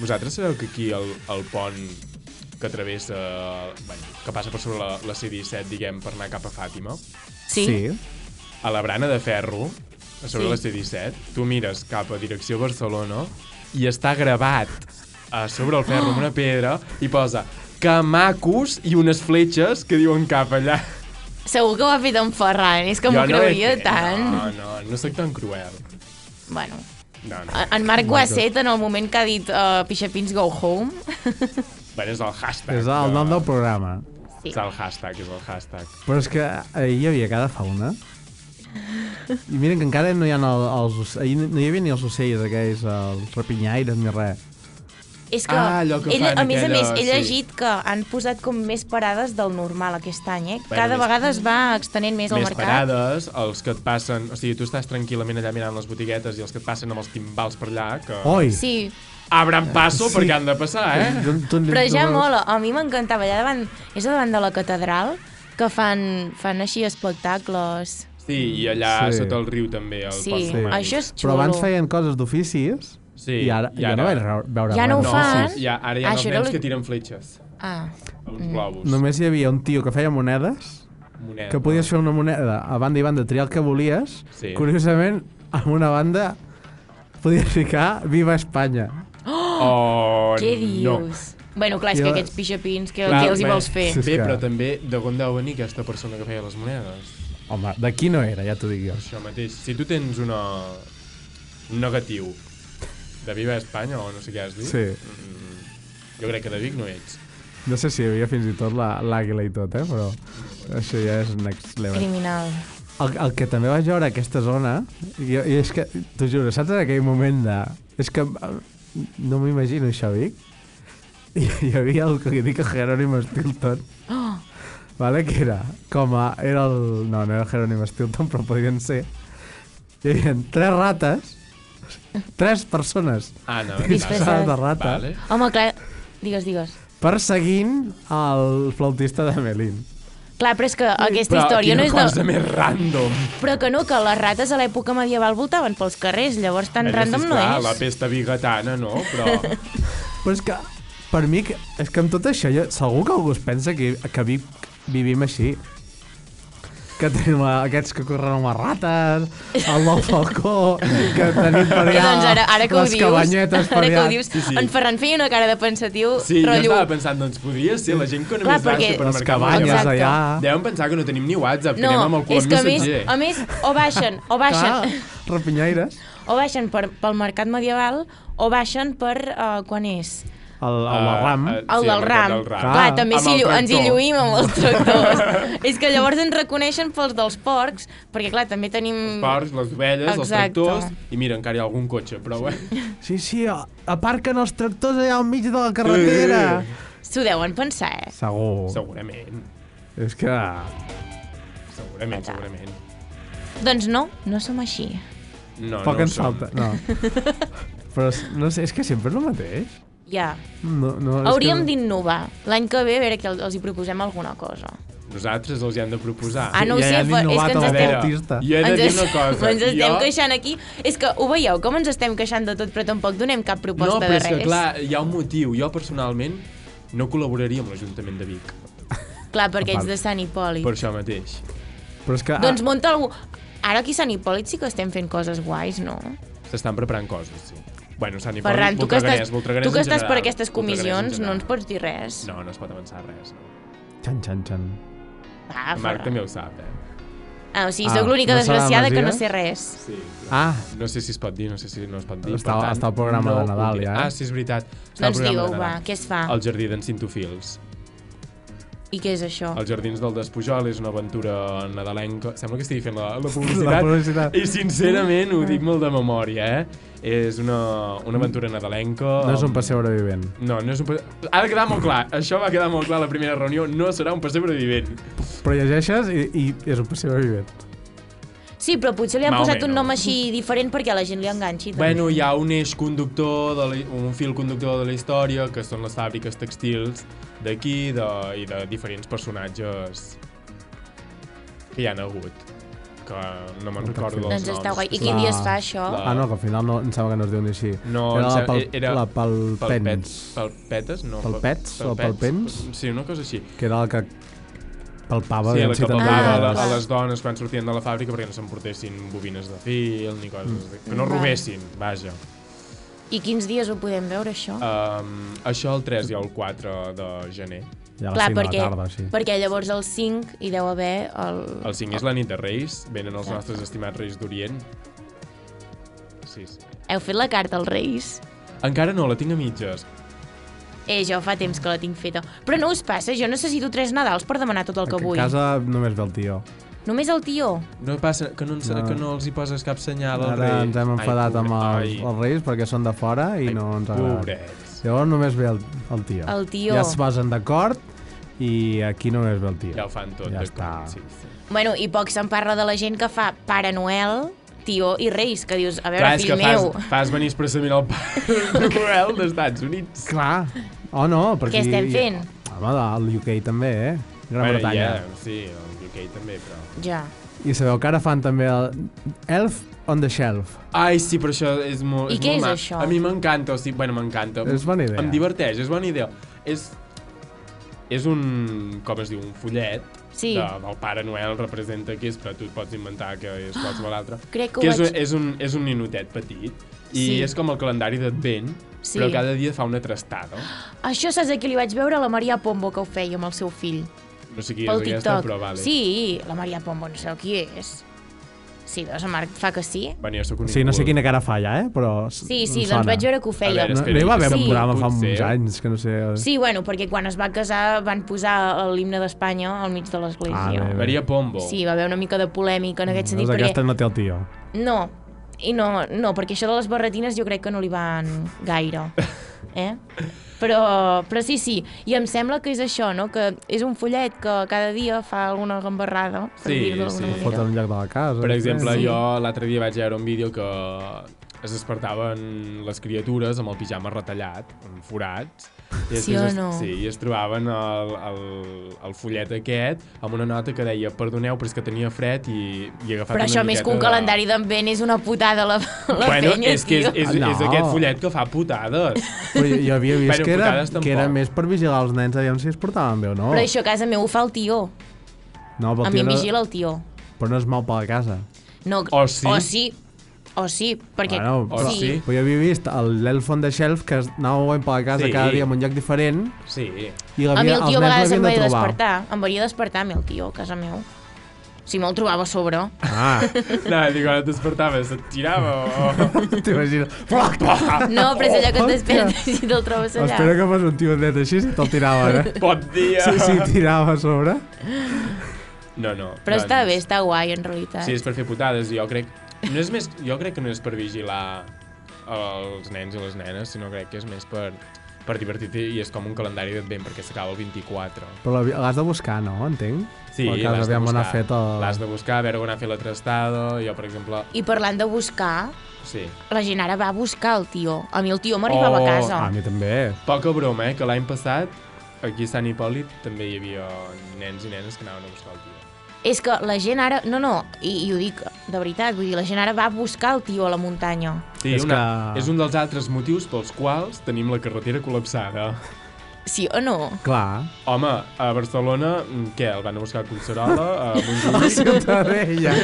Speaker 3: vosaltres sabeu que aquí el, el pont que travessa, bé, que passa per sobre la, la C-17, diguem, per anar cap a Fàtima,
Speaker 2: sí?
Speaker 3: a la brana de ferro, a sobre
Speaker 2: Sí.
Speaker 3: la C-17, tu mires cap a direcció Barcelona i està gravat a sobre el ferro amb una pedra i posa camacos i unes fletxes que diuen cap allà.
Speaker 2: Segur que ho ha fet en Ferran, és que
Speaker 3: Jo
Speaker 2: m'ho
Speaker 3: no ho he
Speaker 2: creuria
Speaker 3: fet.
Speaker 2: tant.
Speaker 3: No, no, no soc tan cruel.
Speaker 2: Bueno,
Speaker 3: No, no.
Speaker 2: en Marc Guasset, en el moment que ha dit uh, Pixapins go home,
Speaker 3: Bueno, és el hashtag.
Speaker 1: És el nom
Speaker 3: que-
Speaker 1: del programa.
Speaker 2: sí.
Speaker 3: És el hashtag, és el hashtag.
Speaker 1: Però és que ahir hi havia cada fauna. I miren que encara no hi ha el, els oce- ahir no hi havia ni els ocells aquells, els rapinyaires ni res.
Speaker 2: És que,
Speaker 3: Ah, allò que
Speaker 2: ella,
Speaker 3: fan
Speaker 2: a més
Speaker 3: aquella-
Speaker 2: a més, he
Speaker 3: sí.
Speaker 2: llegit que han posat com més parades del normal aquest any, eh? Cada
Speaker 3: més-
Speaker 2: vegada es va extenent més, el
Speaker 3: Més
Speaker 2: mercat.
Speaker 3: parades, els que et passen... O sigui, tu estàs tranquil·lament allà mirant les botiguetes i els que et passen amb els timbals per allà, que...
Speaker 1: Oi!
Speaker 2: Sí,
Speaker 3: Abran passo
Speaker 1: Oh. Sí.
Speaker 3: sí. perquè han de passar, eh?
Speaker 1: Tu- tu-
Speaker 2: però ja
Speaker 1: tu-
Speaker 2: mola. A mi m'encantava. Allà davant, és a davant de la catedral, que fan, fan així espectacles.
Speaker 3: Sí, i allà
Speaker 1: Sí.
Speaker 3: sí. sota el riu també, el
Speaker 2: Sí,
Speaker 3: pont
Speaker 2: sí,
Speaker 3: romànic.
Speaker 2: això és xulo.
Speaker 1: Però abans feien coses d'oficis
Speaker 3: Sí,
Speaker 1: i ara,
Speaker 3: i
Speaker 1: i ara, ja
Speaker 3: ara-
Speaker 1: no vaig re- veure
Speaker 2: Ja no ho
Speaker 1: res
Speaker 3: No,
Speaker 2: fan.
Speaker 1: d'oficis.
Speaker 3: sí, ja, ara hi ha
Speaker 2: Ah,
Speaker 3: els
Speaker 2: això era
Speaker 3: nens
Speaker 2: lo-
Speaker 3: que tiren fletxes,
Speaker 2: Ah,
Speaker 3: uns globus,
Speaker 1: Només hi havia un tio que feia monedes,
Speaker 3: moneda.
Speaker 1: que podies fer una moneda a banda i banda, triar el que volies.
Speaker 3: Sí.
Speaker 1: Curiosament, en una banda podies ficar Viva Espanya.
Speaker 3: Oh,
Speaker 2: què
Speaker 3: no.
Speaker 2: dius? Bueno, clar, és
Speaker 1: Jo-
Speaker 2: que aquests pixapins, que,
Speaker 3: Clar,
Speaker 2: què els hi
Speaker 3: bé,
Speaker 2: vols fer?
Speaker 1: Sí.
Speaker 3: Bé,
Speaker 1: que-
Speaker 3: però també d'on deu venir aquesta persona que feia les monedes?
Speaker 1: Home, d'aquí no era, ja t'ho dic jo.
Speaker 3: Això mateix. Si tu tens una... un negatiu de Viva Espanya o no sé què has dit, mm,
Speaker 1: Sí.
Speaker 3: jo crec que de Vic no ets.
Speaker 1: No sé si hi havia fins i tot la- l'àguila i tot, eh? però això ja és next level.
Speaker 2: Criminal.
Speaker 1: El, el que també vaig veure a aquesta zona, i, i és que, t'ho juro, saps en aquell moment de... És que eh, no m'imagino això, a Vic. I hi havia el que dic a Jerónimo Stilton,
Speaker 2: Oh,
Speaker 1: vale? que era com a... Era el, no, no era Jerónimo Stilton, però podrien ser. Hi havia tres rates, tres persones
Speaker 3: Ah, no,
Speaker 2: Disfressat.
Speaker 1: disfressades de rata,
Speaker 3: Vale.
Speaker 2: home, clar, digues, digues.
Speaker 1: perseguint el flautista de Melin.
Speaker 2: Clar, però és que aquesta història no és
Speaker 3: Però
Speaker 2: de...
Speaker 3: quina cosa més random.
Speaker 2: Però que no, que les rates a l'època medieval voltaven pels carrers, llavors tan
Speaker 3: Allò,
Speaker 2: random no
Speaker 3: sisplau,
Speaker 2: és.
Speaker 3: La pesta bigatana, no? Però
Speaker 1: Però és que, per mi, que- és que amb tot això, jo, segur que algú es pensa que, que vi, vivim així. Que tenim eh, aquests que corren amb les rates, el nou falcó, que tenim per
Speaker 2: Eh,
Speaker 1: allà
Speaker 2: doncs ara, ara que ho
Speaker 1: les
Speaker 2: dius,
Speaker 1: cabanyetes per
Speaker 2: ara que
Speaker 1: allà.
Speaker 2: ho dius,
Speaker 3: Sí, sí.
Speaker 2: en Ferran feia una cara de pensatiu,
Speaker 3: sí, jo
Speaker 2: rotllo,
Speaker 3: estava pensant, doncs podria ser la gent que
Speaker 2: Clar,
Speaker 3: només va
Speaker 2: perquè-
Speaker 3: al
Speaker 1: Les
Speaker 3: supermercat.
Speaker 1: cabanyes
Speaker 2: Exacte.
Speaker 1: allà.
Speaker 3: Deuen pensar que no tenim ni WhatsApp, que
Speaker 2: No,
Speaker 3: anem amb el cul
Speaker 2: és
Speaker 3: en
Speaker 2: que a més,
Speaker 3: missatger.
Speaker 2: a més, o baixen, o
Speaker 1: Clar,
Speaker 2: baixen,
Speaker 1: rapinyaires.
Speaker 2: o baixen per, pel mercat medieval, o baixen per, uh, quan és?
Speaker 1: El, el, el
Speaker 3: Ah,
Speaker 1: ram.
Speaker 3: ah,
Speaker 2: El
Speaker 3: Sí,
Speaker 2: del
Speaker 3: el mercat
Speaker 2: ram.
Speaker 3: del ram.
Speaker 2: Clar,
Speaker 1: Clar,
Speaker 2: també
Speaker 3: amb
Speaker 2: si
Speaker 3: el
Speaker 2: llu- ens hi
Speaker 3: tractor.
Speaker 2: lluïm amb els tractors. és que llavors ens reconeixen pels dels porcs, perquè clar, també tenim...
Speaker 3: Porcs, les ovelles, els
Speaker 2: Mm. Exacte.
Speaker 3: tractors... I mira, encara hi ha algun cotxe, però... Eh?
Speaker 1: Sí, sí, a- aparquen els tractors allà al mig de la carretera.
Speaker 3: Eh.
Speaker 2: S'ho deuen pensar, eh?
Speaker 1: Segur.
Speaker 3: Segurament,
Speaker 1: És que...
Speaker 3: segurament, segurament.
Speaker 2: Doncs no, no som així.
Speaker 3: No,
Speaker 1: Poc
Speaker 3: no ho
Speaker 1: ens
Speaker 3: som.
Speaker 1: falta. No. Però és- no sé, és que sempre és el mateix.
Speaker 2: Ja.
Speaker 1: No, no, és
Speaker 2: Hauríem
Speaker 1: que...
Speaker 2: d'innovar. L'any que ve, a veure que el- els hi proposem alguna cosa.
Speaker 3: Nosaltres els hi hem de proposar.
Speaker 2: Ah, no ho
Speaker 1: ja
Speaker 2: sé,
Speaker 1: han
Speaker 2: però és
Speaker 1: innovat
Speaker 2: que ens
Speaker 1: el
Speaker 2: estem...
Speaker 1: Delta. artista.
Speaker 3: Jo he de dir
Speaker 2: ens
Speaker 3: una
Speaker 2: es-
Speaker 3: cosa.
Speaker 2: ens estem
Speaker 3: jo...
Speaker 2: queixant aquí. És que ho veieu, com ens estem queixant de tot, però tampoc donem cap proposta
Speaker 3: No, però
Speaker 2: de
Speaker 3: és
Speaker 2: res.
Speaker 3: que clar, hi ha un motiu. Jo personalment no col·laboraria amb l'Ajuntament de Vic.
Speaker 2: Clar, perquè ets
Speaker 1: Val.
Speaker 2: de Sant Hipòlit.
Speaker 3: Per això mateix.
Speaker 1: Però és que... ah,
Speaker 2: Doncs munta algú... Ara aquí a Sant Hipòlit sí que estem fent coses guais, no?
Speaker 3: S'estan preparant coses, sí. Bueno, Sant Hipòlit,
Speaker 2: Ferran, tu que
Speaker 3: Voltreganès,
Speaker 2: estàs,
Speaker 3: Voltreganès
Speaker 2: tu que
Speaker 3: en
Speaker 2: estàs per
Speaker 3: general,
Speaker 2: aquestes
Speaker 3: Voltreganès en
Speaker 2: comissions no
Speaker 3: general.
Speaker 2: ens pots dir res.
Speaker 3: No, no es pot avançar res. No.
Speaker 1: Xan, xan, xan.
Speaker 2: Va,
Speaker 3: En Marc
Speaker 2: Ferran.
Speaker 3: també ho sap, eh?
Speaker 2: Ah, o sigui,
Speaker 1: Ah,
Speaker 2: sóc l'única
Speaker 1: no serà
Speaker 2: desgraciada que no
Speaker 1: Masies?
Speaker 2: sé res.
Speaker 3: Sí.
Speaker 1: Ah,
Speaker 3: No sé si es pot dir, no sé si no es pot dir.
Speaker 1: Està-
Speaker 3: per tant,
Speaker 1: està el programa de
Speaker 3: ho
Speaker 1: Nadal,
Speaker 3: diré.
Speaker 1: ja, eh?
Speaker 3: Ah, sí, és veritat. Està el
Speaker 2: Doncs
Speaker 3: programa de
Speaker 2: digueu, va,
Speaker 3: Nadal.
Speaker 2: què es fa?
Speaker 3: El jardí d'en Cintofils.
Speaker 2: I què és això?
Speaker 3: Els jardins del Despujol és una aventura nadalenca. Sembla que estigui fent la, la
Speaker 1: La
Speaker 3: publicitat.
Speaker 1: publicitat.
Speaker 3: I sincerament ho dic molt de memòria, eh? És una, una aventura nadalenca.
Speaker 1: no és un
Speaker 3: amb-
Speaker 1: passeig sobrevivent.
Speaker 3: No, no és un passeig... Ha de quedar molt clar. Això va quedar molt clar a la primera reunió. No serà un passeig sobrevivent.
Speaker 1: Però llegeixes i, i és un passeig sobrevivent.
Speaker 2: Sí, però potser li han
Speaker 3: Más o
Speaker 2: posat un
Speaker 3: menos.
Speaker 2: nom així diferent perquè a la gent li enganxi. doncs. també.
Speaker 3: Bueno, hi ha un eix conductor, de la, un fil conductor de la història, que són les fàbriques textils d'aquí de, i de diferents personatges que hi han hagut, que no me'n recordo dels
Speaker 2: doncs
Speaker 3: noms.
Speaker 2: està guai. I
Speaker 1: La-
Speaker 2: quin dia es fa això?
Speaker 3: la-
Speaker 1: Ah, no, que al final no, em sembla que no es diu ni així.
Speaker 3: No,
Speaker 1: era
Speaker 3: em
Speaker 1: la,
Speaker 3: sembla- eh,
Speaker 1: pal,
Speaker 3: era-
Speaker 1: la Palpens,
Speaker 3: Palpets, palpetes? No, pal-
Speaker 1: Palpets o palpens?
Speaker 3: Sí, una cosa així.
Speaker 1: que era la que palpava.
Speaker 3: Sí,
Speaker 1: aviam
Speaker 3: la
Speaker 1: si
Speaker 3: que
Speaker 1: també
Speaker 3: pagava
Speaker 1: era-
Speaker 3: ah, a
Speaker 2: clar.
Speaker 3: les dones quan sortien de la fàbrica perquè no s'emportessin bobines de fil ni coses... de- Que no
Speaker 2: Vale.
Speaker 3: robessin, vaja.
Speaker 2: I quins dies ho podem veure, això?
Speaker 3: Um, això el 3 i el 4 de gener.
Speaker 1: Ja a les
Speaker 2: Clar,
Speaker 1: cinc de
Speaker 2: perquè,
Speaker 1: la tarda, sí.
Speaker 2: perquè llavors el 5 hi deu haver el...
Speaker 3: El 5 és la nit de Reis, venen els nostres estimats Reis d'Orient. Sí, sí.
Speaker 2: Heu fet la carta als Reis?
Speaker 3: Encara no, la tinc a mitges.
Speaker 2: Eh, jo fa temps que la tinc feta. Però no us passa, jo necessito tres Nadals per demanar tot el que
Speaker 1: a
Speaker 2: vull.
Speaker 1: casa eh, només ve el tio.
Speaker 2: Només el tio.
Speaker 3: No passa, que no, ens,
Speaker 1: No.
Speaker 3: no. que no els hi poses cap senyal als
Speaker 1: Ara
Speaker 3: Reis.
Speaker 1: ens hem enfadat
Speaker 3: ai,
Speaker 1: amb els,
Speaker 3: pobre-
Speaker 1: els reis perquè són de fora i
Speaker 3: ai,
Speaker 1: no ens agrada.
Speaker 3: Pobrets.
Speaker 1: Llavors només ve el, el tio.
Speaker 2: El tio.
Speaker 1: Ja es posen d'acord i aquí només ve el tio.
Speaker 3: Ja ho fan tot.
Speaker 1: Ja està.
Speaker 3: d'acord, Sí, sí.
Speaker 2: Bueno, i poc se'n parla de la gent que fa Pare Noel, tio i Reis, que dius, a veure,
Speaker 3: Clar, és que
Speaker 2: fill
Speaker 3: fas,
Speaker 2: meu,
Speaker 3: fas venir expressament el Pare Noel d'Estats Units.
Speaker 1: Clar. Oh, no, perquè...
Speaker 2: què estem fent?
Speaker 1: Home, el UK també, eh? Gran
Speaker 3: Bueno,
Speaker 1: Bretanya.
Speaker 3: Ja, sí, el UK també, però...
Speaker 2: Ja.
Speaker 1: I sabeu que ara fan també el Elf on the Shelf.
Speaker 3: Ai, sí, però això és molt...
Speaker 2: I què
Speaker 3: molt
Speaker 2: és
Speaker 3: ma-
Speaker 2: això?
Speaker 3: A mi m'encanta, o sigui, bueno, m'encanta.
Speaker 1: És bona idea.
Speaker 3: Em diverteix, és bona idea. És, és un, com es diu, un follet
Speaker 2: Sí.
Speaker 3: de, del Pare Noel, representa qui és, però tu et pots inventar que és qualsevol altre.
Speaker 2: Ah, Crec que ho
Speaker 3: que és,
Speaker 2: vaig-
Speaker 3: un- és, un, és un ninotet petit, i
Speaker 2: Sí.
Speaker 3: és com el calendari d'advent,
Speaker 2: Sí.
Speaker 3: però cada dia fa una trastada.
Speaker 2: Això saps a qui li vaig veure? A la Maria Pombo, que ho feia amb el seu fill.
Speaker 3: No sé qui
Speaker 2: pel
Speaker 3: és aquesta,
Speaker 2: TikTok.
Speaker 3: però vale.
Speaker 2: Sí, la Maria Pombo, no sé qui és. Sí, doncs el Marc fa que sí.
Speaker 3: Bueno, jo sóc un
Speaker 1: Sí, no sé
Speaker 3: incul.
Speaker 1: quina cara fa ja, eh? Però s-
Speaker 2: Sí, sí,
Speaker 1: em
Speaker 2: doncs
Speaker 1: sona.
Speaker 2: vaig veure que ho feia.
Speaker 3: A veure,
Speaker 1: No,
Speaker 3: Espera,
Speaker 1: no hi va haver
Speaker 2: sí.
Speaker 1: un programa fa
Speaker 3: Potser.
Speaker 1: uns anys, que no sé...
Speaker 2: Sí, bueno, perquè quan es va casar van posar l'himne d'Espanya al mig de l'església.
Speaker 1: Ah, bé, bé.
Speaker 3: Maria Pombo.
Speaker 2: Sí, va haver una mica de polèmica en
Speaker 3: Mm,
Speaker 2: aquest sentit,
Speaker 1: Doncs aquesta
Speaker 2: perquè...
Speaker 1: no té el tio.
Speaker 2: No, i no, no, perquè això de les barretines jo crec que no li van gaire. Eh? Però, però sí, sí, i em sembla que és això, no? Que és un follet que cada dia fa alguna gambarrada, per
Speaker 3: Sí,
Speaker 2: dir-ho
Speaker 3: sí.
Speaker 2: d'alguna
Speaker 3: Mira.
Speaker 1: Fot en
Speaker 2: manera.
Speaker 1: un lloc de la casa.
Speaker 3: Per
Speaker 2: Doncs
Speaker 1: no sé.
Speaker 3: exemple,
Speaker 2: Sí.
Speaker 3: jo l'altre dia vaig veure un vídeo que es despertaven les criatures amb el pijama retallat, amb forats, i
Speaker 2: Sí
Speaker 3: després
Speaker 2: o
Speaker 3: es-
Speaker 2: no?
Speaker 3: sí, i es trobaven el, el, el follet aquest amb una nota que deia perdoneu, però és que tenia fred i, i he agafat
Speaker 2: Però
Speaker 3: una
Speaker 2: això més
Speaker 3: miqueta
Speaker 2: que un
Speaker 3: de-
Speaker 2: calendari d'envent és una putada la, la
Speaker 3: Bueno,
Speaker 2: penya,
Speaker 3: és que és, és,
Speaker 1: No.
Speaker 3: és aquest follet que fa putades.
Speaker 1: Però jo, jo havia vist
Speaker 3: Bueno,
Speaker 1: que, era,
Speaker 3: putades tampoc.
Speaker 1: que era més per vigilar els nens, aviam si es portaven bé o no.
Speaker 2: Però això a casa meu ho fa el tio.
Speaker 1: no, però
Speaker 2: A
Speaker 1: el
Speaker 2: mi
Speaker 1: tio
Speaker 2: em
Speaker 1: no-
Speaker 2: vigila el tio.
Speaker 1: Però no es mou per la casa.
Speaker 2: No,
Speaker 3: O Oh, sí.
Speaker 2: O sí, o sí perquè...
Speaker 1: Bueno,
Speaker 3: O
Speaker 1: però-
Speaker 3: sí.
Speaker 1: Però jo havia vist el- l'elf on the shelf que es anava movent per la casa
Speaker 3: Sí.
Speaker 1: cada dia en un lloc diferent
Speaker 3: Sí.
Speaker 1: i
Speaker 2: A mi
Speaker 1: l'havia-
Speaker 2: el
Speaker 1: els
Speaker 2: tio a
Speaker 1: nens
Speaker 2: vegades
Speaker 1: l'havien
Speaker 2: em
Speaker 1: de
Speaker 2: varia
Speaker 1: trobar.
Speaker 2: despertar. Em varia despertar a mi el tio, a casa meu. Si me'l trobava a sobre.
Speaker 1: Ah,
Speaker 3: No, dic, quan et despertaves, et tirava o...
Speaker 1: t'imagines.
Speaker 2: No, però és allò que et
Speaker 1: Hòstia.
Speaker 2: despertes i te'l trobes allà.
Speaker 1: Espero que fas un tio net així i te'l tiraven, eh?
Speaker 3: Bon dia!
Speaker 1: Sí, sí, tirava a sobre.
Speaker 3: No, no.
Speaker 2: Però està
Speaker 3: doncs-
Speaker 2: bé, està guai, en realitat.
Speaker 3: Sí, és per fer putades, jo crec... No és més, jo crec que no és per vigilar els nens i les nenes, sinó crec que és més per, per divertir-te i és com un calendari d'advent perquè s'acaba el 24.
Speaker 1: Però l'havi- l'has de buscar, no? Entenc.
Speaker 3: Sí,
Speaker 1: Pel cas,
Speaker 3: l'has de
Speaker 1: aviam on ha
Speaker 3: buscar.
Speaker 1: fet el-
Speaker 3: L'has de buscar, a veure on ha fet la trastada, jo, per exemple...
Speaker 2: I parlant de buscar,
Speaker 3: Sí.
Speaker 2: la gent ara va a buscar el tio. A mi el tio m'arribava
Speaker 3: Oh,
Speaker 2: a casa.
Speaker 1: Ah, A mi també.
Speaker 3: Poca broma, eh, que l'any passat aquí a Sant Hipòlit també hi havia nens i nenes que anaven a buscar el tio.
Speaker 2: És que la gent ara... No, no, i, i ho dic de veritat, vull dir, la gent ara va a buscar el tio a la muntanya.
Speaker 3: Sí,
Speaker 1: És
Speaker 3: és, una,
Speaker 1: que-
Speaker 3: que... és un dels altres motius pels quals tenim la carretera col·lapsada.
Speaker 2: Sí o no?
Speaker 1: Clar.
Speaker 3: Home, a Barcelona, mm, què, el van a buscar a Collserola, a Montjuïc?
Speaker 1: Ciutadella.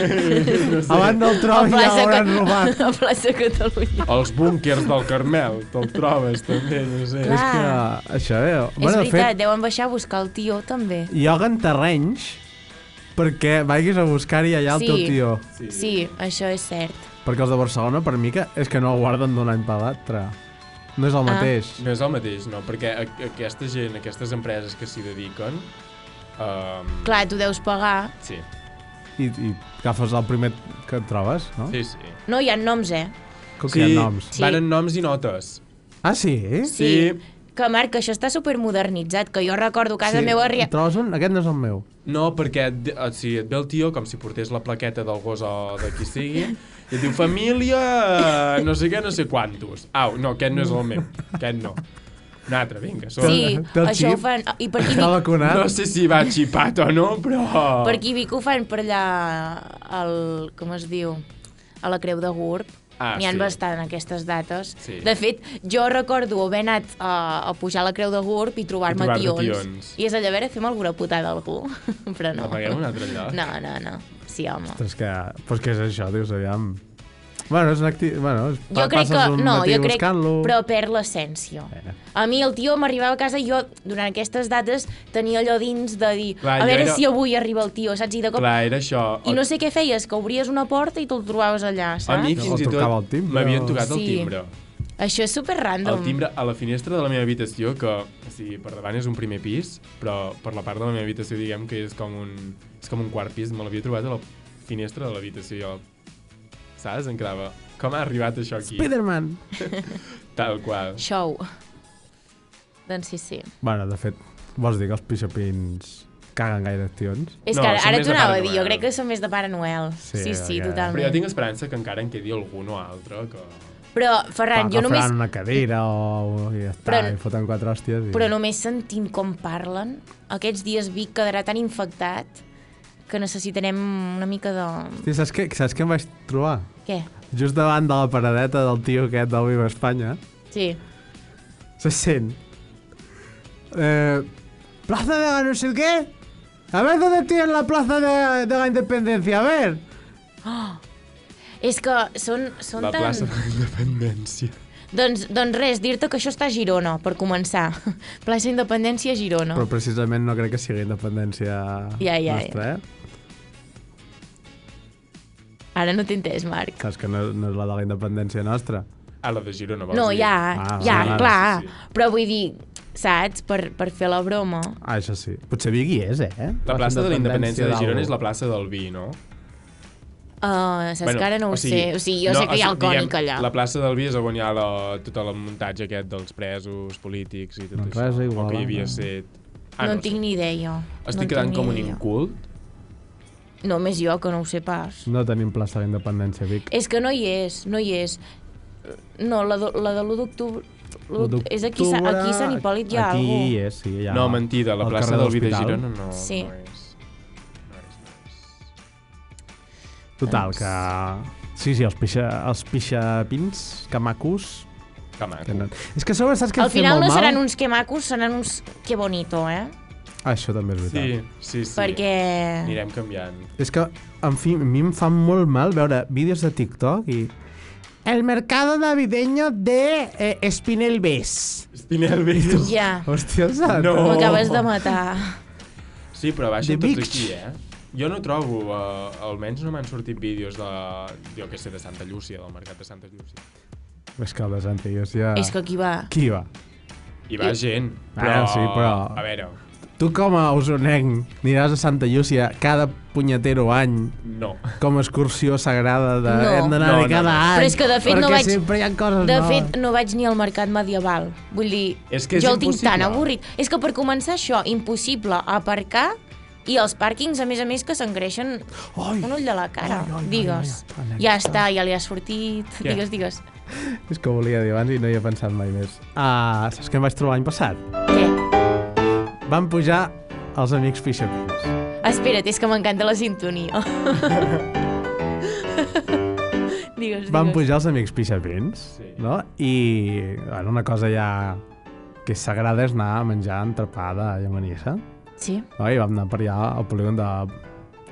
Speaker 1: Abans no el trobin, ja l'hauran robat.
Speaker 2: a plaça Catalunya.
Speaker 3: Els búnkers del Carmel, te'l trobes també, no sé.
Speaker 2: Clar.
Speaker 1: És que això, eh? de
Speaker 2: Bueno, Ah. és veritat,
Speaker 1: fet,
Speaker 2: deuen baixar a buscar el tio, també.
Speaker 1: lloguen terrenys perquè vagis a buscar-hi allà el
Speaker 2: Sí.
Speaker 1: teu tio.
Speaker 2: Sí. això és cert.
Speaker 1: Perquè els de Barcelona, per mi, que és que no el guarden d'un any per l'altre. No és
Speaker 2: Ah.
Speaker 1: el mateix.
Speaker 3: No és el mateix, no, perquè a- aquesta gent, aquestes empreses que s'hi dediquen... Um,
Speaker 2: Clar, tu deus pagar.
Speaker 3: Sí,
Speaker 1: I, I agafes el primer que et trobes, no?
Speaker 3: sí, sí.
Speaker 2: No, hi ha noms, eh?
Speaker 1: Com que hi ha noms.
Speaker 2: Sí.
Speaker 3: Van en noms i notes.
Speaker 1: Ah, sí?
Speaker 3: Sí.
Speaker 2: Que, Marc, que això està supermodernitzat, que jo recordo a casa
Speaker 1: Sí,
Speaker 2: sí. meva... Ria...
Speaker 1: Trobes un? Aquest no és el meu.
Speaker 3: No, perquè et, o sigui, et ve el tio com si portés la plaqueta del gos o de qui sigui i et diu, família, eh, no sé què, no sé quantos. Au, no, aquest no és el meu, aquest no. Un altre, vinga, som.
Speaker 2: Sí,
Speaker 1: Té el xip?
Speaker 2: això ho fan... ah, I per aquí
Speaker 1: Està
Speaker 2: dic,
Speaker 1: vacunat?
Speaker 3: No sé si va xipat o no, però...
Speaker 2: Per aquí Vic ho fan per allà, al, com es diu, a la Creu de Gurb.
Speaker 3: Ah,
Speaker 2: N'hi ha
Speaker 3: sí.
Speaker 2: bastant aquestes dates.
Speaker 3: Sí.
Speaker 2: De fet, jo recordo haver anat a, a pujar a la Creu de Gurb i trobar-me
Speaker 3: trobar-te
Speaker 2: tions.
Speaker 3: tions.
Speaker 2: I és allà, a veure, fem alguna putada a algú. Però no.
Speaker 3: Amaguem un altre lloc?
Speaker 2: No, no, no. Sí, home.
Speaker 1: Ostres, que... Però és que és això, dius, aviam... Bueno, és un acti... Bueno, és-
Speaker 2: Jo crec
Speaker 1: passes
Speaker 2: que...
Speaker 1: un
Speaker 2: No,
Speaker 1: matí
Speaker 2: jo crec...
Speaker 1: buscant-lo.
Speaker 2: Però perd l'essència.
Speaker 1: Eh.
Speaker 2: A mi el tio m'arribava a casa i jo, durant aquestes dates, tenia allò dins de dir
Speaker 3: Clar,
Speaker 2: a
Speaker 3: jo
Speaker 2: veure
Speaker 3: era-
Speaker 2: si avui arriba el tio, saps? I de cop
Speaker 3: Clar, era això.
Speaker 2: I no sé què feies, que obries una porta i te'l trobaves allà,
Speaker 3: A
Speaker 2: saps?
Speaker 3: mi
Speaker 1: O
Speaker 3: fins i
Speaker 1: trucava al
Speaker 3: tot
Speaker 1: timbre,
Speaker 3: m'havien
Speaker 1: o-
Speaker 3: tocat el
Speaker 2: Sí.
Speaker 3: timbre.
Speaker 2: Això és super random.
Speaker 3: El timbre a la finestra de la meva habitació, que o sigui, per davant és un primer pis, però per la part de la meva habitació diguem que és com un, és com un quart pis, me l'havia trobat a la finestra de l'habitació. Jo, saps? Em quedava, com ha arribat això aquí?
Speaker 1: Spiderman!
Speaker 3: Tal qual.
Speaker 2: Show. Doncs sí, sí.
Speaker 1: Bueno, de fet, vols dir que els pixapins caguen gaire accions?
Speaker 2: És
Speaker 3: No,
Speaker 2: no, que ara,
Speaker 3: són
Speaker 2: ara
Speaker 3: més
Speaker 2: t'ho
Speaker 3: de
Speaker 2: anava
Speaker 3: Pare
Speaker 2: a dir, jo
Speaker 3: Noel.
Speaker 2: crec que són més de Pare Noel.
Speaker 1: Sí,
Speaker 2: Sí, sí, sí
Speaker 1: perquè-
Speaker 3: Però jo
Speaker 2: totalment.
Speaker 3: tinc esperança que encara en quedi algun o altre que...
Speaker 2: Però,
Speaker 1: Clar,
Speaker 2: Ferran, jo
Speaker 1: agafaran
Speaker 2: només...
Speaker 1: una cadira o... i ja està,
Speaker 2: Però-
Speaker 1: i foten quatre hòsties i...
Speaker 2: Però només sentint com parlen, aquests dies Vic quedarà tan infectat que necessitarem una mica de...
Speaker 1: Hosti, saps què, saps què em vaig trobar?
Speaker 2: Què?
Speaker 1: Just davant de la paradeta del tio aquest del Viva Espanya,
Speaker 2: Sí.
Speaker 1: se sent... Eh, plaza de no sé què? A ver dónde tienen la plaza de, de la independencia, a ver.
Speaker 2: És que són, són
Speaker 3: La
Speaker 2: tan...
Speaker 3: plaça de la independència.
Speaker 2: Doncs, doncs res, dir-te que això està a Girona, per començar. plaça Independència Girona.
Speaker 1: Però precisament no crec que sigui independència
Speaker 2: Ja, ja,
Speaker 1: nostra, eh?
Speaker 2: Ara no t'he entès, Marc.
Speaker 1: Saps que no, no és la de la independència nostra.
Speaker 3: A la de Girona, vols
Speaker 2: No,
Speaker 3: dir?
Speaker 2: ja,
Speaker 1: Ah,
Speaker 2: ah, ja,
Speaker 1: vale.
Speaker 2: clar.
Speaker 3: Sí,
Speaker 2: Sí,
Speaker 3: sí.
Speaker 2: Però vull dir, saps, per, per fer la broma.
Speaker 1: Ah, això sí. Potser Vigui és, eh?
Speaker 3: La plaça de la independència de Girona és la plaça del vi, no?
Speaker 2: Uh, saps bueno, que ara no ho sé. O sigui, jo
Speaker 3: no,
Speaker 2: sé que hi ha
Speaker 3: o
Speaker 2: el
Speaker 3: sigui,
Speaker 2: cònic allà.
Speaker 3: La ah, plaça del Vi és on hi ha la, tot el muntatge aquest dels presos polítics i tot
Speaker 1: Manresa,
Speaker 3: això. o
Speaker 1: Igualada.
Speaker 3: que hi havia set...
Speaker 2: Ah, no, en
Speaker 3: ho
Speaker 2: tinc
Speaker 3: sé.
Speaker 2: ni idea, jo.
Speaker 3: Estic
Speaker 2: no en
Speaker 3: quedant
Speaker 2: tinc
Speaker 3: com
Speaker 2: ni
Speaker 3: un
Speaker 2: idea.
Speaker 3: incult.
Speaker 2: No, més jo, que no ho sé pas.
Speaker 1: No tenim plaça de la independència, Vic.
Speaker 2: És que no hi és, no hi és. No, la, de- la de l'1 d'octubre...
Speaker 1: L'u
Speaker 2: l'u- És aquí, a-
Speaker 1: d'octubre,
Speaker 2: aquí a Sant Hipòlit hi ha
Speaker 1: Aquí
Speaker 2: algú.
Speaker 1: és, sí, hi ha.
Speaker 3: No, mentida, la
Speaker 1: al
Speaker 3: plaça
Speaker 1: carrer
Speaker 3: del Vi de
Speaker 1: l'Hospital.
Speaker 3: Girona no,
Speaker 2: Sí.
Speaker 3: no és. No és, no és.
Speaker 1: Total, que... Sí, sí, els, pixa, els pixapins, que macos... Que
Speaker 3: Que maco.
Speaker 1: no... És que a sobre saps que
Speaker 2: Al
Speaker 1: ens fem
Speaker 2: final
Speaker 1: molt
Speaker 2: no
Speaker 1: mal?
Speaker 2: seran uns que macos, seran uns que bonito, eh?
Speaker 1: Ah, això també és veritat.
Speaker 3: Sí, sí, sí.
Speaker 2: Perquè...
Speaker 3: Anirem canviant.
Speaker 1: És que, en fi, a mi em fa molt mal veure vídeos de TikTok i... El mercado navideño de eh, Spinel Bes.
Speaker 3: Espinel Vell.
Speaker 2: Ja,
Speaker 1: Hòstia, santa.
Speaker 3: No.
Speaker 2: m'acabes de matar.
Speaker 1: Ah.
Speaker 3: Sí, però baixen
Speaker 1: The
Speaker 3: tots
Speaker 1: Beach.
Speaker 3: aquí, eh? Jo no trobo, eh, almenys no m'han sortit vídeos de, jo què sé, de Santa Llúcia, del mercat de Santa Llúcia.
Speaker 1: És que les antigues ja...
Speaker 2: És que aquí va.
Speaker 1: Qui va?
Speaker 3: Hi va gent,
Speaker 1: Ah,
Speaker 3: però...
Speaker 1: sí, però-
Speaker 3: A veure,
Speaker 1: Tu com a usonenc aniràs a Santa Llúcia cada punyetero any
Speaker 3: no.
Speaker 1: com a excursió sagrada de
Speaker 2: No.
Speaker 1: hem d'anar no,
Speaker 3: No, no,
Speaker 1: cada
Speaker 3: no.
Speaker 1: any.
Speaker 2: Però és que de fet
Speaker 1: perquè
Speaker 2: no vaig-
Speaker 1: sempre hi ha coses
Speaker 2: De
Speaker 1: noves.
Speaker 2: fet, no vaig ni al mercat medieval. Vull dir,
Speaker 3: És que és
Speaker 2: jo el tinc
Speaker 3: impossible.
Speaker 2: tan avorrit. És que per començar això, impossible aparcar i els pàrquings, a més a més, que s'engreixen
Speaker 1: Ai.
Speaker 2: un ull de la cara.
Speaker 1: Ai, ai, ai,
Speaker 2: digues.
Speaker 1: ai, ai, ai.
Speaker 2: ja està, ja li ha sortit.
Speaker 3: Què?
Speaker 2: Digues, digues.
Speaker 1: És que ho volia dir abans i no hi he pensat mai més. Ah, saps què em vaig trobar l'any passat?
Speaker 2: Què?
Speaker 1: Van pujar els amics Pixapins.
Speaker 2: Espera't, és que m'encanta la sintonia. digues, digues.
Speaker 1: Van pujar els amics Pixapins,
Speaker 3: Sí.
Speaker 1: no? I bueno, una cosa ja que és sagrada és anar a menjar entrepada a Llamanissa.
Speaker 2: Sí.
Speaker 1: No? I vam anar per allà al polígon de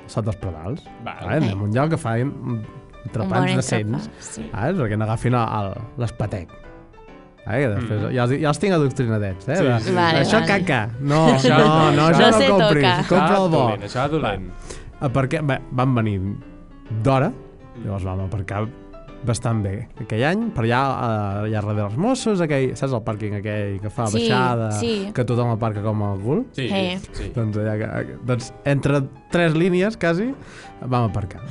Speaker 1: Sot dels Pradals.
Speaker 3: Val.
Speaker 1: Vale? Anem a un lloc que fa
Speaker 2: bon
Speaker 1: entrepans decents. Ah,
Speaker 2: entrepà, sí.
Speaker 1: Vale? Perquè n'agafin el, l'espatec. Vale? Que després, ja, els, ja els tinc adoctrinadets, eh?
Speaker 3: Mm. Sí,
Speaker 1: De-
Speaker 3: sí, sí.
Speaker 2: Vale,
Speaker 1: això
Speaker 2: vale.
Speaker 1: caca. No,
Speaker 3: Això-
Speaker 1: no, no,
Speaker 3: això
Speaker 1: això no,
Speaker 2: se
Speaker 1: no compris.
Speaker 2: toca.
Speaker 1: Compra el bo.
Speaker 3: dolent, això dolent.
Speaker 1: Ah, Perquè va, van venir d'hora,
Speaker 3: Mm.
Speaker 1: llavors vam aparcar bastant bé aquell any, per allà, eh, allà darrere dels Mossos, aquell, saps el pàrquing aquell que fa
Speaker 2: Sí,
Speaker 1: baixada,
Speaker 2: sí.
Speaker 1: que tothom aparca com el cul?
Speaker 3: Sí,
Speaker 2: Eh.
Speaker 3: sí.
Speaker 1: Doncs, allà, doncs entre tres línies, quasi, vam aparcar.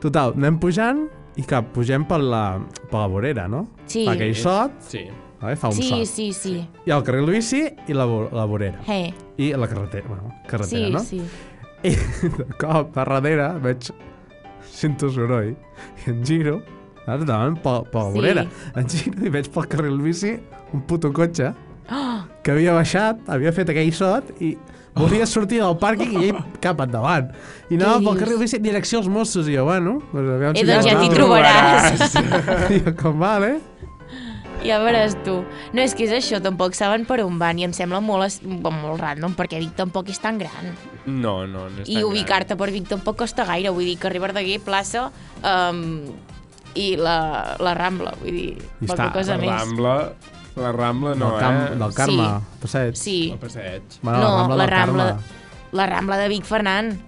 Speaker 1: Total, anem pujant i cap, pugem per la, per la vorera, no?
Speaker 2: Sí.
Speaker 1: Per aquell sot,
Speaker 3: Sí.
Speaker 1: Vale? Fa un
Speaker 2: Sí,
Speaker 1: salt.
Speaker 2: sí, sí.
Speaker 1: Hi ha el carril bici i la, vo- la vorera.
Speaker 2: Hey.
Speaker 1: I la carretera, bueno, carretera,
Speaker 2: Sí,
Speaker 1: no?
Speaker 2: sí.
Speaker 1: I de cop, a darrere, veig... Sento soroll i em giro, saps? Davant pel, per la
Speaker 2: Sí.
Speaker 1: vorera. Em giro i veig pel carril bici un puto cotxe
Speaker 2: Oh,
Speaker 1: que havia baixat, havia fet aquell sot i volia
Speaker 3: Oh.
Speaker 1: sortir del pàrquing i ell cap endavant. I anava pel
Speaker 2: dius?
Speaker 1: carril bici en direcció als Mossos i jo, bueno... Doncs, aviam
Speaker 2: Eh, doncs
Speaker 1: hi ha
Speaker 2: ja t'hi
Speaker 1: un
Speaker 2: trobaràs.
Speaker 1: altre. I jo, com eh?" vale...
Speaker 2: Ja veuràs tu. No, és que és això, tampoc saben per on van i em sembla molt, es- bon, molt random, perquè Vic tampoc és tan gran.
Speaker 3: No, no, no és
Speaker 2: I
Speaker 3: tan
Speaker 2: ubicar-te per Vic tampoc costa gaire, vull dir que arribar de plaça um, i la, la Rambla, vull dir,
Speaker 1: I
Speaker 2: poca
Speaker 1: està,
Speaker 2: cosa
Speaker 3: gran. La
Speaker 2: més.
Speaker 3: Rambla, la Rambla no,
Speaker 1: del, camp,
Speaker 3: eh?
Speaker 1: del Carme, passeig.
Speaker 2: Sí,
Speaker 3: El passeig.
Speaker 1: Bueno,
Speaker 2: no, la
Speaker 1: del
Speaker 2: Rambla,
Speaker 1: Carme.
Speaker 2: la Rambla de Vic, Fernand.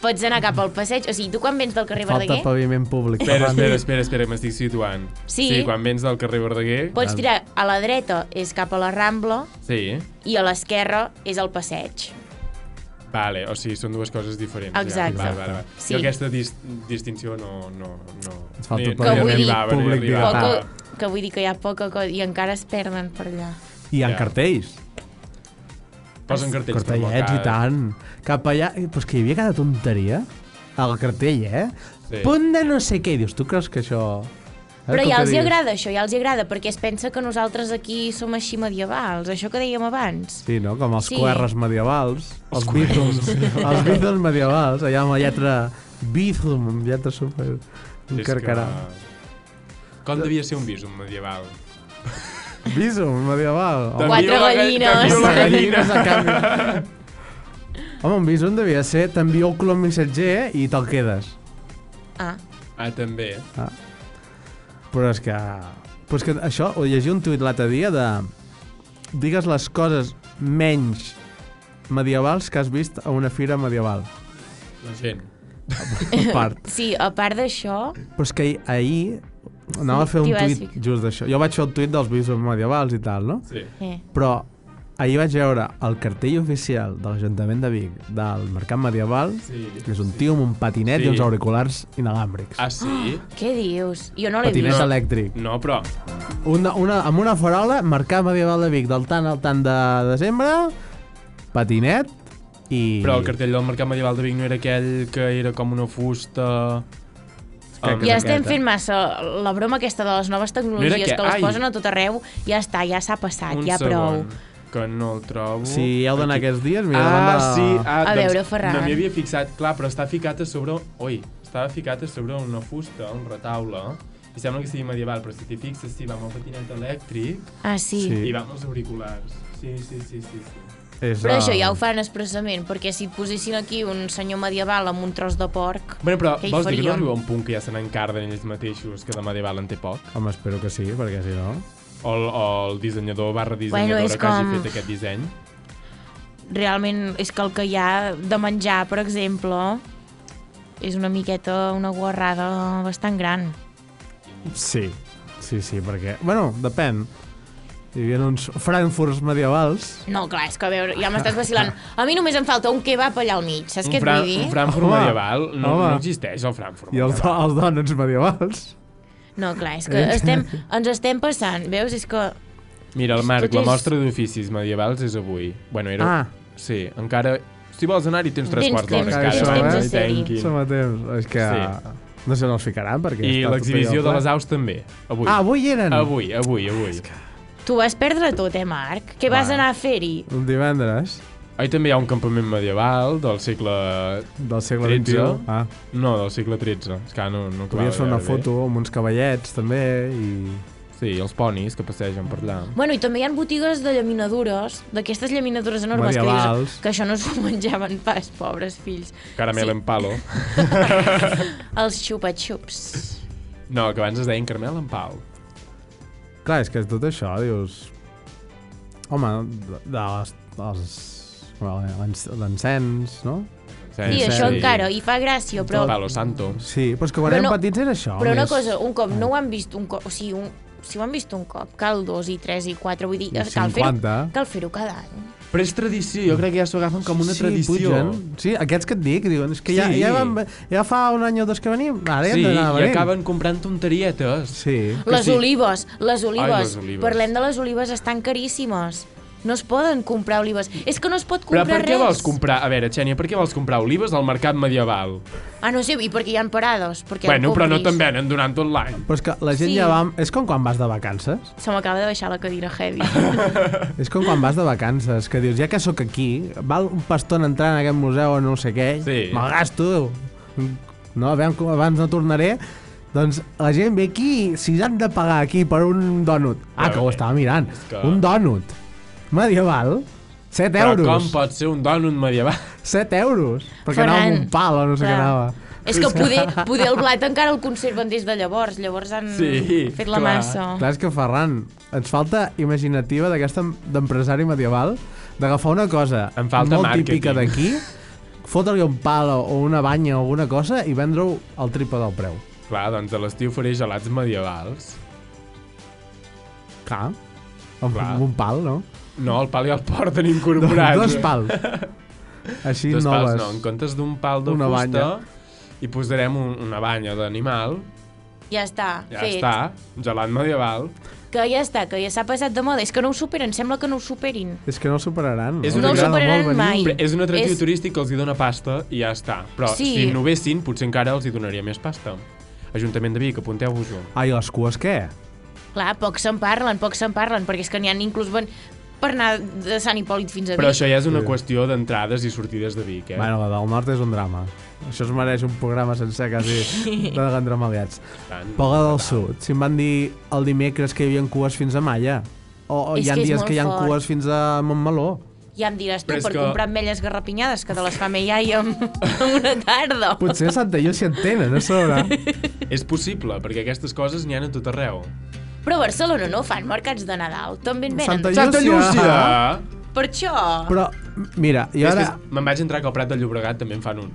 Speaker 2: Pots anar cap al passeig, o sigui, tu quan vens del carrer
Speaker 1: Falta
Speaker 2: Verdaguer,
Speaker 1: paviment públic.
Speaker 3: Espera,
Speaker 1: Ferran.
Speaker 3: espera, espera, espera, que m'estic situant.
Speaker 2: Sí.
Speaker 3: sí. quan vens del carrer Verdaguer...
Speaker 2: pots tirar a la dreta és cap a la Rambla
Speaker 3: Sí,
Speaker 2: i a l'esquerra és el passeig.
Speaker 3: vale, o sigui, són dues coses diferents.
Speaker 2: Exacte.
Speaker 3: Ja. Vale, vale, vale.
Speaker 2: Sí.
Speaker 3: Jo aquesta dis distinció no... no, no
Speaker 1: Ens falta
Speaker 3: ni-
Speaker 1: un
Speaker 3: ni
Speaker 2: Que vull dir,
Speaker 3: arribava, ni
Speaker 1: públic
Speaker 3: arribava.
Speaker 1: digital.
Speaker 2: Poca, que vull dir que hi ha poca cosa i encara es perden per allà.
Speaker 1: I hi ha
Speaker 3: Ja.
Speaker 1: cartells.
Speaker 3: Posen cartells per
Speaker 1: Cartellets i
Speaker 3: cada-
Speaker 1: tant. Cap allà... eh, Però és que hi havia cada tonteria al cartell, eh?
Speaker 3: Sí.
Speaker 1: Sí. Punt de no sé què. I dius, tu creus que això... Eh,
Speaker 2: Però
Speaker 1: com
Speaker 2: ja
Speaker 1: que
Speaker 2: els hi
Speaker 1: digues?
Speaker 2: agrada això, ja els hi agrada, perquè es pensa que nosaltres aquí som així medievals, això que dèiem abans.
Speaker 1: Sí, no? Com els
Speaker 2: Sí.
Speaker 1: sí. QRs medievals. Els bítoms. els bítoms medievals. Allà amb la lletra bítom, amb lletra super...
Speaker 3: És
Speaker 1: Encarcarà.
Speaker 3: Que... Com devia ser un bisum medieval?
Speaker 1: Que... Bítom medieval. Home,
Speaker 2: Quatre
Speaker 3: T'envio la ga-
Speaker 2: gallines.
Speaker 3: t'envio la gallina.
Speaker 1: Oh. gallines a canvi. Home, un bítom devia ser t'envio el color missatger i te'l quedes.
Speaker 2: Ah,
Speaker 3: Ah, també.
Speaker 1: Però és que... Però és que això, ho llegia un tuit l'altre dia de... Digues les coses menys medievals que has vist a una fira medieval.
Speaker 3: La gent.
Speaker 1: A part.
Speaker 2: sí, a part d'això,
Speaker 1: Però és que ahir, ahir anava a fer un
Speaker 2: Qui vas
Speaker 1: tuit
Speaker 2: ficar?
Speaker 1: just d'això. Jo vaig fer el tuit dels bisbes medievals i tal, no?
Speaker 3: Sí.
Speaker 2: eh,
Speaker 1: Però ahir vaig veure el cartell oficial de l'Ajuntament de Vic del Mercat Medieval,
Speaker 3: Sí,
Speaker 1: que és un tio amb un patinet
Speaker 3: Sí.
Speaker 1: i uns auriculars inalàmbrics.
Speaker 3: Ah, sí?
Speaker 2: què dius? Jo no l'he
Speaker 1: Patinet
Speaker 2: vist.
Speaker 3: No.
Speaker 1: elèctric.
Speaker 3: No, però...
Speaker 1: Una, una, amb una farola, mercat medieval de Vic, del tant al tant de desembre, patinet i...
Speaker 3: Però el cartell del Mercat Medieval de Vic no era aquell que era com una fusta...
Speaker 1: que-
Speaker 3: Amb-
Speaker 2: Ja estem
Speaker 1: Jaqueta.
Speaker 2: fent massa la broma aquesta de les noves tecnologies
Speaker 3: que-
Speaker 2: que, les
Speaker 3: ai.
Speaker 2: posen a tot arreu, ja està, ja s'ha passat,
Speaker 3: un
Speaker 2: ja prou.
Speaker 3: segon, que no el trobo.
Speaker 1: Si heu d'anar
Speaker 3: Aquí.
Speaker 1: aquests dies, mira,
Speaker 3: Ah,
Speaker 1: davant de...
Speaker 3: sí, ah,
Speaker 2: A
Speaker 3: doncs
Speaker 2: veure, Ferran.
Speaker 3: No m'hi havia fixat, clar, però està ficat a sobre... Ui, estava ficat a sobre una fusta, un retaule, i sembla que sigui medieval, però si t'hi fixes, sí, va amb el patinet elèctric
Speaker 2: Ah, sí.
Speaker 1: Sí.
Speaker 2: sí.
Speaker 3: i va amb els auriculars. Sí, sí, sí, sí. sí.
Speaker 1: És,
Speaker 2: Però això
Speaker 1: ah,
Speaker 2: ja ho fan expressament, perquè si et posessin aquí un senyor medieval amb un tros de porc...
Speaker 3: Bé, però
Speaker 2: Què hi
Speaker 3: vols dir que no
Speaker 2: faríem?
Speaker 3: arriba un punt que ja se n'encarden ells mateixos que de medieval en té poc?
Speaker 1: Home, espero que sí, perquè si no...
Speaker 3: O el, o el dissenyador barra dissenyadora
Speaker 2: és
Speaker 3: que hagi
Speaker 2: com-
Speaker 3: fet aquest disseny?
Speaker 2: Realment és que el que hi ha de menjar, per exemple, és una miqueta, una guarrada bastant gran.
Speaker 1: Sí, sí, sí, perquè... Bueno, depèn. Hi havia uns frankfurts medievals.
Speaker 2: No, clar, és que a veure, ja m'estàs vacilant. A mi només em falta un kebab allà al mig, saps
Speaker 3: Un,
Speaker 2: què et
Speaker 3: Fran
Speaker 2: vull dir?
Speaker 3: un Frankfurt
Speaker 1: Home,
Speaker 3: medieval? No,
Speaker 1: home.
Speaker 3: no existeix el Frankfurt
Speaker 1: I els, do,
Speaker 3: medieval.
Speaker 1: els dones medievals.
Speaker 2: No, clar, és que estem, ens estem passant, veus? És que...
Speaker 3: Mira, el Marc,
Speaker 2: Tot
Speaker 3: la
Speaker 2: és-
Speaker 3: mostra d'oficis medievals és avui. Bueno, era...
Speaker 1: Ah.
Speaker 3: Sí, encara... Si vols anar-hi tens tres
Speaker 2: Tens
Speaker 3: quarts d'hora
Speaker 2: temps,
Speaker 3: encara.
Speaker 1: tens temps
Speaker 3: eh?
Speaker 1: de
Speaker 3: I
Speaker 2: ser-hi.
Speaker 3: tanquin.
Speaker 1: Som a temps. És que...
Speaker 3: Sí.
Speaker 1: No sé on els ficaran, perquè...
Speaker 3: I
Speaker 1: està tot
Speaker 3: l'exhibició
Speaker 1: allò ple.
Speaker 3: de les aus també. Avui.
Speaker 1: Ah, avui hi eren?
Speaker 3: Avui, avui, avui.
Speaker 2: Tu vas perdre tot, eh, Marc? Què vas
Speaker 1: Va.
Speaker 2: anar a fer-hi?
Speaker 1: Un divendres
Speaker 3: Ai, també hi ha un campament medieval del segle...
Speaker 1: del segle
Speaker 3: Tretze.
Speaker 1: XXI. Ah.
Speaker 3: No, del segle XIII. És que ara no, no acabava
Speaker 1: Podries fer
Speaker 3: de
Speaker 1: una
Speaker 3: veure bé.
Speaker 1: foto amb uns cavallets, també, i...
Speaker 3: Sí, els ponis que passegen per allà.
Speaker 2: Bueno, i també hi ha botigues de llaminadures, d'aquestes llaminadures enormes que
Speaker 1: Medievals.
Speaker 2: dius que això no s'ho menjaven pas, pobres fills.
Speaker 3: Caramel en palo.
Speaker 2: Els xupa-xups.
Speaker 3: No, que abans es deien caramel en pal.
Speaker 1: Clar, és que tot això, dius... Home, de, de les... Els... bueno, l'enc- L'encens, no?
Speaker 2: I
Speaker 1: Sí,
Speaker 2: això
Speaker 1: sí.
Speaker 2: encara, i fa gràcia, però,
Speaker 3: Palo santo.
Speaker 1: Sí, però és que quan
Speaker 2: Però
Speaker 1: érem
Speaker 2: no-
Speaker 1: petits era això.
Speaker 2: però una
Speaker 1: més.
Speaker 2: cosa, un cop no ho han vist, un cop, o sigui, un, si ho han vist un cop, cal dos i tres i quatre, vull dir,
Speaker 1: I
Speaker 2: cal fer-ho
Speaker 1: 50.
Speaker 2: cal fer cada any.
Speaker 3: Però és tradició, jo crec que ja s'ho agafen com una
Speaker 1: sí,
Speaker 3: tradició.
Speaker 1: Pugen. Sí, aquests que et dic, diuen, és que ja,
Speaker 3: Sí.
Speaker 1: ja, vam, ja fa un any o dos que venim, ara ja
Speaker 3: Sí,
Speaker 1: hem d'anar
Speaker 3: i
Speaker 1: venint.
Speaker 3: acaben comprant tonterietes.
Speaker 1: Sí.
Speaker 3: Que
Speaker 2: Les
Speaker 3: sí.
Speaker 2: olives, les olives.
Speaker 3: les olives.
Speaker 2: Parlem de les olives, estan caríssimes. No es poden comprar olives. És que no es pot
Speaker 3: Però
Speaker 2: comprar
Speaker 3: per què
Speaker 2: res.
Speaker 3: vols comprar... A veure, Xènia, per què vols comprar olives al mercat medieval?
Speaker 2: Ah, no sé, i perquè hi ha parades. Perquè en
Speaker 3: bueno, però no
Speaker 2: compris.
Speaker 3: te'n venen durant tot l'any.
Speaker 1: Però és que la gent sí.
Speaker 2: Sí.
Speaker 1: ja va... amb- És com quan vas de vacances.
Speaker 2: Se m'acaba de baixar la cadira heavy.
Speaker 1: És com quan vas de vacances, que dius, ja que sóc aquí, val un paston entrar en aquest museu o no sé què,
Speaker 3: Sí.
Speaker 1: me'l gasto. No, a veure, com- abans no tornaré. Doncs la gent ve aquí, si han de pagar aquí per un dònut. Ah,
Speaker 3: Ja
Speaker 1: que ho
Speaker 3: ve.
Speaker 1: estava mirant.
Speaker 3: que-
Speaker 1: Un dònut. Medieval. 7
Speaker 3: Però
Speaker 1: euros.
Speaker 3: com pot ser un dònut medieval?
Speaker 1: 7 euros. Perquè anava amb
Speaker 2: Ferran,
Speaker 1: un pal o no sé què
Speaker 2: clar.
Speaker 1: anava.
Speaker 2: És que poder, poder el blat encara el conserven des de llavors, llavors han
Speaker 3: Sí,
Speaker 2: fet la
Speaker 3: clar.
Speaker 2: massa.
Speaker 1: Clar, és que Ferran, ens falta imaginativa d'aquesta d'empresari medieval d'agafar una cosa
Speaker 3: Em falta
Speaker 1: molt
Speaker 3: màrqueting.
Speaker 1: típica d'aquí, fotre-li un pal o una banya o alguna cosa i vendre-ho al triple del preu.
Speaker 3: Clar, doncs a l'estiu faré gelats medievals.
Speaker 1: Clar. Amb,
Speaker 3: Clar.
Speaker 1: amb un pal, no?
Speaker 3: No, el pal i el porten
Speaker 1: Dos,
Speaker 3: incorporats.
Speaker 1: dos pals. Així
Speaker 3: Dos
Speaker 1: noves.
Speaker 3: pals, no. En comptes d'un pal de
Speaker 1: Una
Speaker 3: fusta,
Speaker 1: banya.
Speaker 3: hi posarem un, una banya d'animal.
Speaker 2: Ja està,
Speaker 3: Ja
Speaker 2: fet.
Speaker 3: està. Gelat medieval.
Speaker 2: Que ja està, que ja s'ha passat de moda. És que no ho superen, sembla que no ho superin.
Speaker 1: És que no el superaran.
Speaker 3: És
Speaker 1: Els
Speaker 3: una- No el
Speaker 1: agrada
Speaker 2: superaran
Speaker 1: molt venir.
Speaker 2: mai.
Speaker 3: Però és un atractiu
Speaker 2: És-
Speaker 3: és... turístic que els hi dona pasta i ja està. Però
Speaker 2: Sí.
Speaker 3: si innovessin, potser encara els hi donaria més pasta. Ajuntament de Vic, apunteu-vos-ho.
Speaker 1: Ah, i les cues què?
Speaker 2: Clar, poc se'n parlen, poc se'n parlen, perquè és que n'hi ha inclús ben... per anar de Sant Hipòlit fins a Vic.
Speaker 3: Però això ja és una
Speaker 1: Sí.
Speaker 3: qüestió d'entrades i sortides de Vic, eh?
Speaker 1: Bueno, la del nord és un drama. Això es mereix un programa sencer, quasi, de gandramaliats.
Speaker 3: Tant.
Speaker 1: Poga del Sud, si em van dir el dimecres que hi havia cues fins a Malla, o, o
Speaker 2: És
Speaker 1: hi ha
Speaker 2: que és
Speaker 1: dies
Speaker 2: molt
Speaker 1: que hi ha
Speaker 2: fort.
Speaker 1: cues fins a Montmeló.
Speaker 2: Ja em diràs tu,
Speaker 3: Però és
Speaker 2: per
Speaker 3: que-
Speaker 2: que... comprar ametlles garrapinyades, que te les fa me iaia en, en una tarda.
Speaker 1: Potser a Santa Llúcia en tenen, a sobre.
Speaker 3: És possible, perquè aquestes coses n'hi ha a tot arreu.
Speaker 2: Però a Barcelona no fan mercats de Nadal, també en venen.
Speaker 1: Santa
Speaker 3: Santa Llúcia!
Speaker 2: Per això...
Speaker 1: Però, mira, i
Speaker 3: I
Speaker 1: ara...
Speaker 3: ara... Me'n vaig entrar que al Prat de Llobregat també en fan un.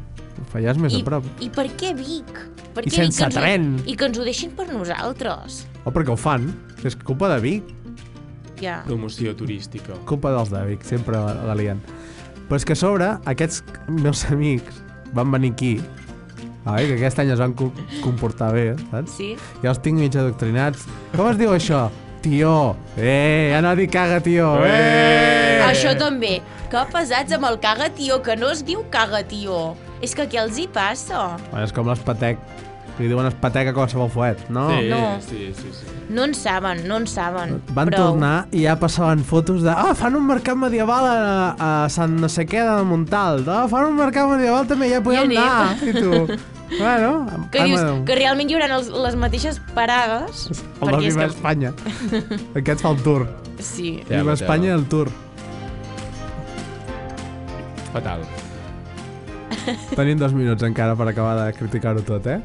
Speaker 1: Allà és més
Speaker 2: I,
Speaker 1: a prop.
Speaker 2: I per què Vic? Per
Speaker 1: I
Speaker 2: què Vic
Speaker 1: sense
Speaker 2: que ens ho-
Speaker 1: tren.
Speaker 2: I que ens ho deixin per nosaltres.
Speaker 1: O perquè ho fan. És culpa de Vic.
Speaker 2: Ja.
Speaker 3: Promoció turística.
Speaker 1: Culpa dels de Vic, sempre la, la lien. Però és que a sobre, aquests meus amics van venir aquí. Ai, que aquest any es van co comportar bé, saps?
Speaker 2: Sí?
Speaker 1: Ja els tinc mig adoctrinats. Com es diu això? Tió! Eh, ja no dic caga, tió!
Speaker 2: Eh.
Speaker 1: Eh!
Speaker 2: Això també. Que pesats amb el caga tió, que no es diu caga tió. És que què els hi passa?
Speaker 1: Bueno, és com l'espatec. Li diuen espatec a qualsevol fuet, no?
Speaker 3: Sí,
Speaker 2: no.
Speaker 3: sí, sí, sí.
Speaker 2: No en saben, no en saben.
Speaker 1: Van
Speaker 2: Prou.
Speaker 1: tornar i ja passaven fotos de ah, fan un mercat medieval a, a Sant no sé què de Montalt. Ah, fan un mercat medieval també, ja podem
Speaker 2: anem.
Speaker 1: anar. I tu, bueno...
Speaker 3: Ah,
Speaker 2: Que
Speaker 1: ai,
Speaker 2: dius
Speaker 1: bueno,
Speaker 2: que realment hi haurà els, les mateixes parades.
Speaker 1: El de
Speaker 2: perquè és
Speaker 1: Viva
Speaker 2: que-
Speaker 1: Espanya. Aquest fa el tour.
Speaker 2: Sí.
Speaker 3: Ja,
Speaker 1: Viva
Speaker 3: ja.
Speaker 1: Espanya, el tour.
Speaker 3: Fatal.
Speaker 1: Tenim dos minuts encara per acabar de criticar-ho tot, eh?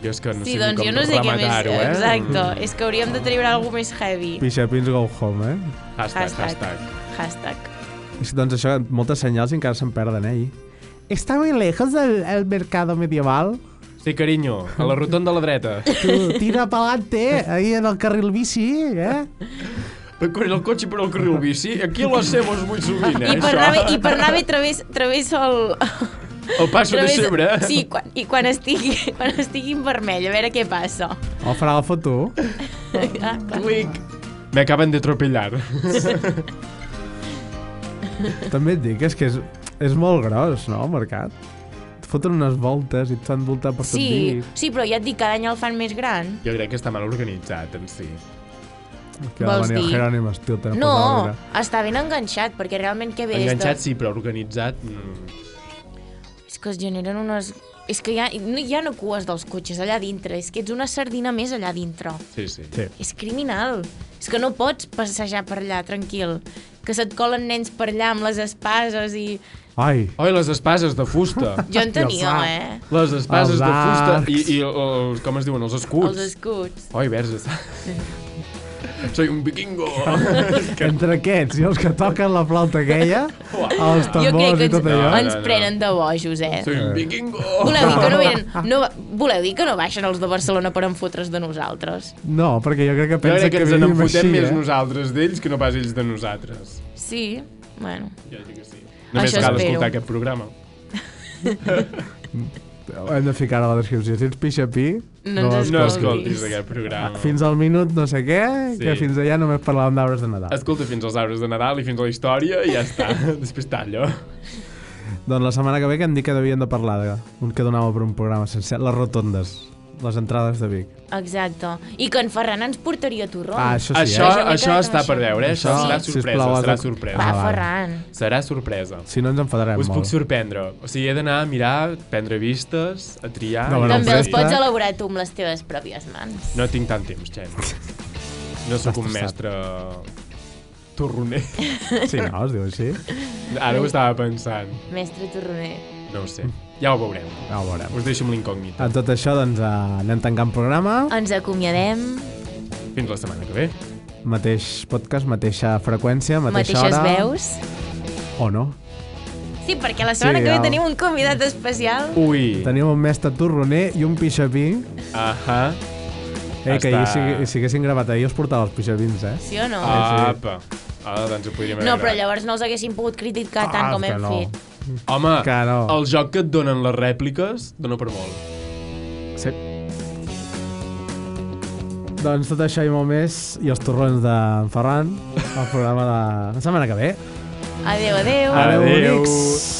Speaker 3: Jo és que no
Speaker 2: sí,
Speaker 3: sé ni
Speaker 2: doncs
Speaker 3: com
Speaker 2: jo no sé què més...
Speaker 3: rematar-ho, eh?
Speaker 2: Exacte, és que hauríem de treure alguna més heavy.
Speaker 1: Pixapins go home, eh?
Speaker 3: Hashtag, hashtag.
Speaker 2: Hashtag.
Speaker 1: És- Doncs això, moltes senyals i encara se'n perden, eh? ahir. Està muy lejos el, el mercado medieval.
Speaker 3: Sí, carinyo, a la rotonda a la dreta.
Speaker 1: Tu tira pa'lante, ahí en el carril bici, eh?
Speaker 3: Corrent el cotxe per al carril bici, aquí a les seves vull sovint, eh,
Speaker 2: I per anar bé,
Speaker 3: això.
Speaker 2: i per anar bé través, través el...
Speaker 3: El passo de eh?
Speaker 2: través-
Speaker 3: Segre.
Speaker 2: Sí, quan, i quan estigui, quan estigui en vermell, a veure què passa.
Speaker 1: O farà la foto.
Speaker 2: Ah, clar.
Speaker 3: Clic. Me acaben de atropellar.
Speaker 1: També et dic, és que és, és molt gros, no, el mercat? Et foten unes voltes i et fan voltar per tot
Speaker 2: Sí,
Speaker 1: Vic.
Speaker 2: sí, però ja et dic, cada any el fan més gran.
Speaker 3: Jo crec que està mal organitzat, en si.
Speaker 1: Que va
Speaker 2: vols
Speaker 1: venir el
Speaker 2: dir?
Speaker 1: Jerònim Estil, te
Speaker 2: No,
Speaker 1: no.
Speaker 2: està ben enganxat, perquè realment què ve des de-
Speaker 3: Enganxat sí, però organitzat... mm.
Speaker 2: És que es generen unes... És que hi ha, no, hi ha no cues dels cotxes allà dintre, és que ets una sardina més allà dintre.
Speaker 3: Sí, sí.
Speaker 1: Sí.
Speaker 2: És criminal. És que no pots passejar per allà, tranquil. Que se't colen nens per allà amb les espases i...
Speaker 1: Ai,
Speaker 3: Oi, les espases de fusta.
Speaker 2: Jo en tenia,
Speaker 1: sac.
Speaker 2: eh?
Speaker 3: Les espases
Speaker 1: Els
Speaker 3: de fusta i,
Speaker 1: arcs.
Speaker 3: i els, com es diuen, els escuts.
Speaker 2: Els escuts.
Speaker 3: Oi, verges. Soy un vikingo.
Speaker 1: Entre aquests i els que toquen la flauta aquella, els
Speaker 2: Jo crec
Speaker 1: tambors
Speaker 2: que
Speaker 1: i tot
Speaker 2: ens,
Speaker 1: allò...
Speaker 2: ens
Speaker 3: No, no, no.
Speaker 2: prenen de bojos, eh?
Speaker 3: Soy un vikingo.
Speaker 2: Voleu dir que no,
Speaker 1: Oh.
Speaker 2: venen, no, voleu dir que no baixen els de Barcelona per enfotre's de nosaltres?
Speaker 1: No, perquè jo crec que
Speaker 3: Jo
Speaker 1: pensa
Speaker 3: crec que
Speaker 1: que,
Speaker 3: ens en
Speaker 1: vivim
Speaker 3: fotem
Speaker 1: així,
Speaker 3: més
Speaker 1: eh?
Speaker 3: nosaltres d'ells que no pas ells de nosaltres.
Speaker 2: Sí, bueno.
Speaker 3: Jo dic que sí. Només
Speaker 2: Això
Speaker 3: cal
Speaker 2: espero.
Speaker 3: escoltar aquest programa.
Speaker 1: Ho hem de ficar a la descripció. Si ets pixapí,
Speaker 2: No ens
Speaker 3: No
Speaker 2: Escoltis.
Speaker 3: escoltis aquest programa.
Speaker 1: Fins al minut no sé què,
Speaker 3: Sí.
Speaker 1: que fins allà només parlàvem d'arbres de Nadal.
Speaker 3: Escolta fins als arbres de Nadal i fins a la història i ja està. Després tallo.
Speaker 1: Doncs la setmana que ve que em dit que devien de parlar d'un que donava per un programa sencer, les rotondes, les entrades de Vic.
Speaker 2: Exacte. I que en Ferran ens portaria torrons.
Speaker 1: Ah, això sí,
Speaker 3: Oh. això
Speaker 1: eh?
Speaker 2: Això
Speaker 3: això
Speaker 2: m'encanta,
Speaker 3: està
Speaker 2: això.
Speaker 3: per veure, eh? Això
Speaker 1: Això,
Speaker 3: serà
Speaker 1: sisplau,
Speaker 3: sorpresa,
Speaker 1: has de-
Speaker 3: serà
Speaker 2: Va,
Speaker 3: sorpresa.
Speaker 1: Ah, vale.
Speaker 2: Ferran.
Speaker 3: Serà sorpresa.
Speaker 1: Si no ens enfadarem
Speaker 3: Us puc
Speaker 1: molt.
Speaker 3: sorprendre. O sigui, he d'anar a mirar, prendre vistes, a triar...
Speaker 1: No,
Speaker 3: i
Speaker 1: bueno,
Speaker 2: També
Speaker 1: festa.
Speaker 2: els
Speaker 3: decidir.
Speaker 2: pots elaborar tu amb les teves pròpies mans.
Speaker 3: No tinc tant temps, Xen. No sóc un mestre torroner.
Speaker 1: Sí, no, es diu així?
Speaker 3: Ara ho estava pensant.
Speaker 2: Mestre Torroner.
Speaker 3: No ho sé. Ja ho veurem.
Speaker 1: Ja ho veurem.
Speaker 3: Us deixo amb l'incògnita.
Speaker 1: Amb tot això, doncs, eh, anem tancant programa.
Speaker 2: Ens acomiadem.
Speaker 3: Fins la setmana que ve.
Speaker 1: Mateix podcast, mateixa freqüència, mateixa
Speaker 2: Mateixes
Speaker 1: hora.
Speaker 2: veus.
Speaker 1: O no.
Speaker 2: Sí, perquè la setmana
Speaker 1: Sí, Uh.
Speaker 2: que
Speaker 1: ja.
Speaker 2: ve tenim un convidat especial.
Speaker 3: Ui.
Speaker 1: Tenim un mestre turroner i un pixapí.
Speaker 3: Ahà.
Speaker 1: Eh, que ahir,
Speaker 3: Està.
Speaker 1: si, si haguéssim gravat ahir, us portava els pixapins, eh?
Speaker 2: Ah, Sí o no?
Speaker 3: Apa. Ah, doncs ho podríem
Speaker 2: No, però
Speaker 3: gravat.
Speaker 2: llavors no els haguéssim pogut criticar tant
Speaker 1: Ah,
Speaker 2: com
Speaker 1: que
Speaker 2: hem
Speaker 1: no.
Speaker 2: fet.
Speaker 3: Home,
Speaker 1: Que no.
Speaker 3: el joc que et donen les rèpliques dona per molt.
Speaker 1: Sí. Doncs tot això i molt més, i els torrons d'en Ferran, el programa de la setmana que ve.
Speaker 2: Adéu, adéu.
Speaker 1: Adéu,
Speaker 3: Adéu.
Speaker 1: bonics!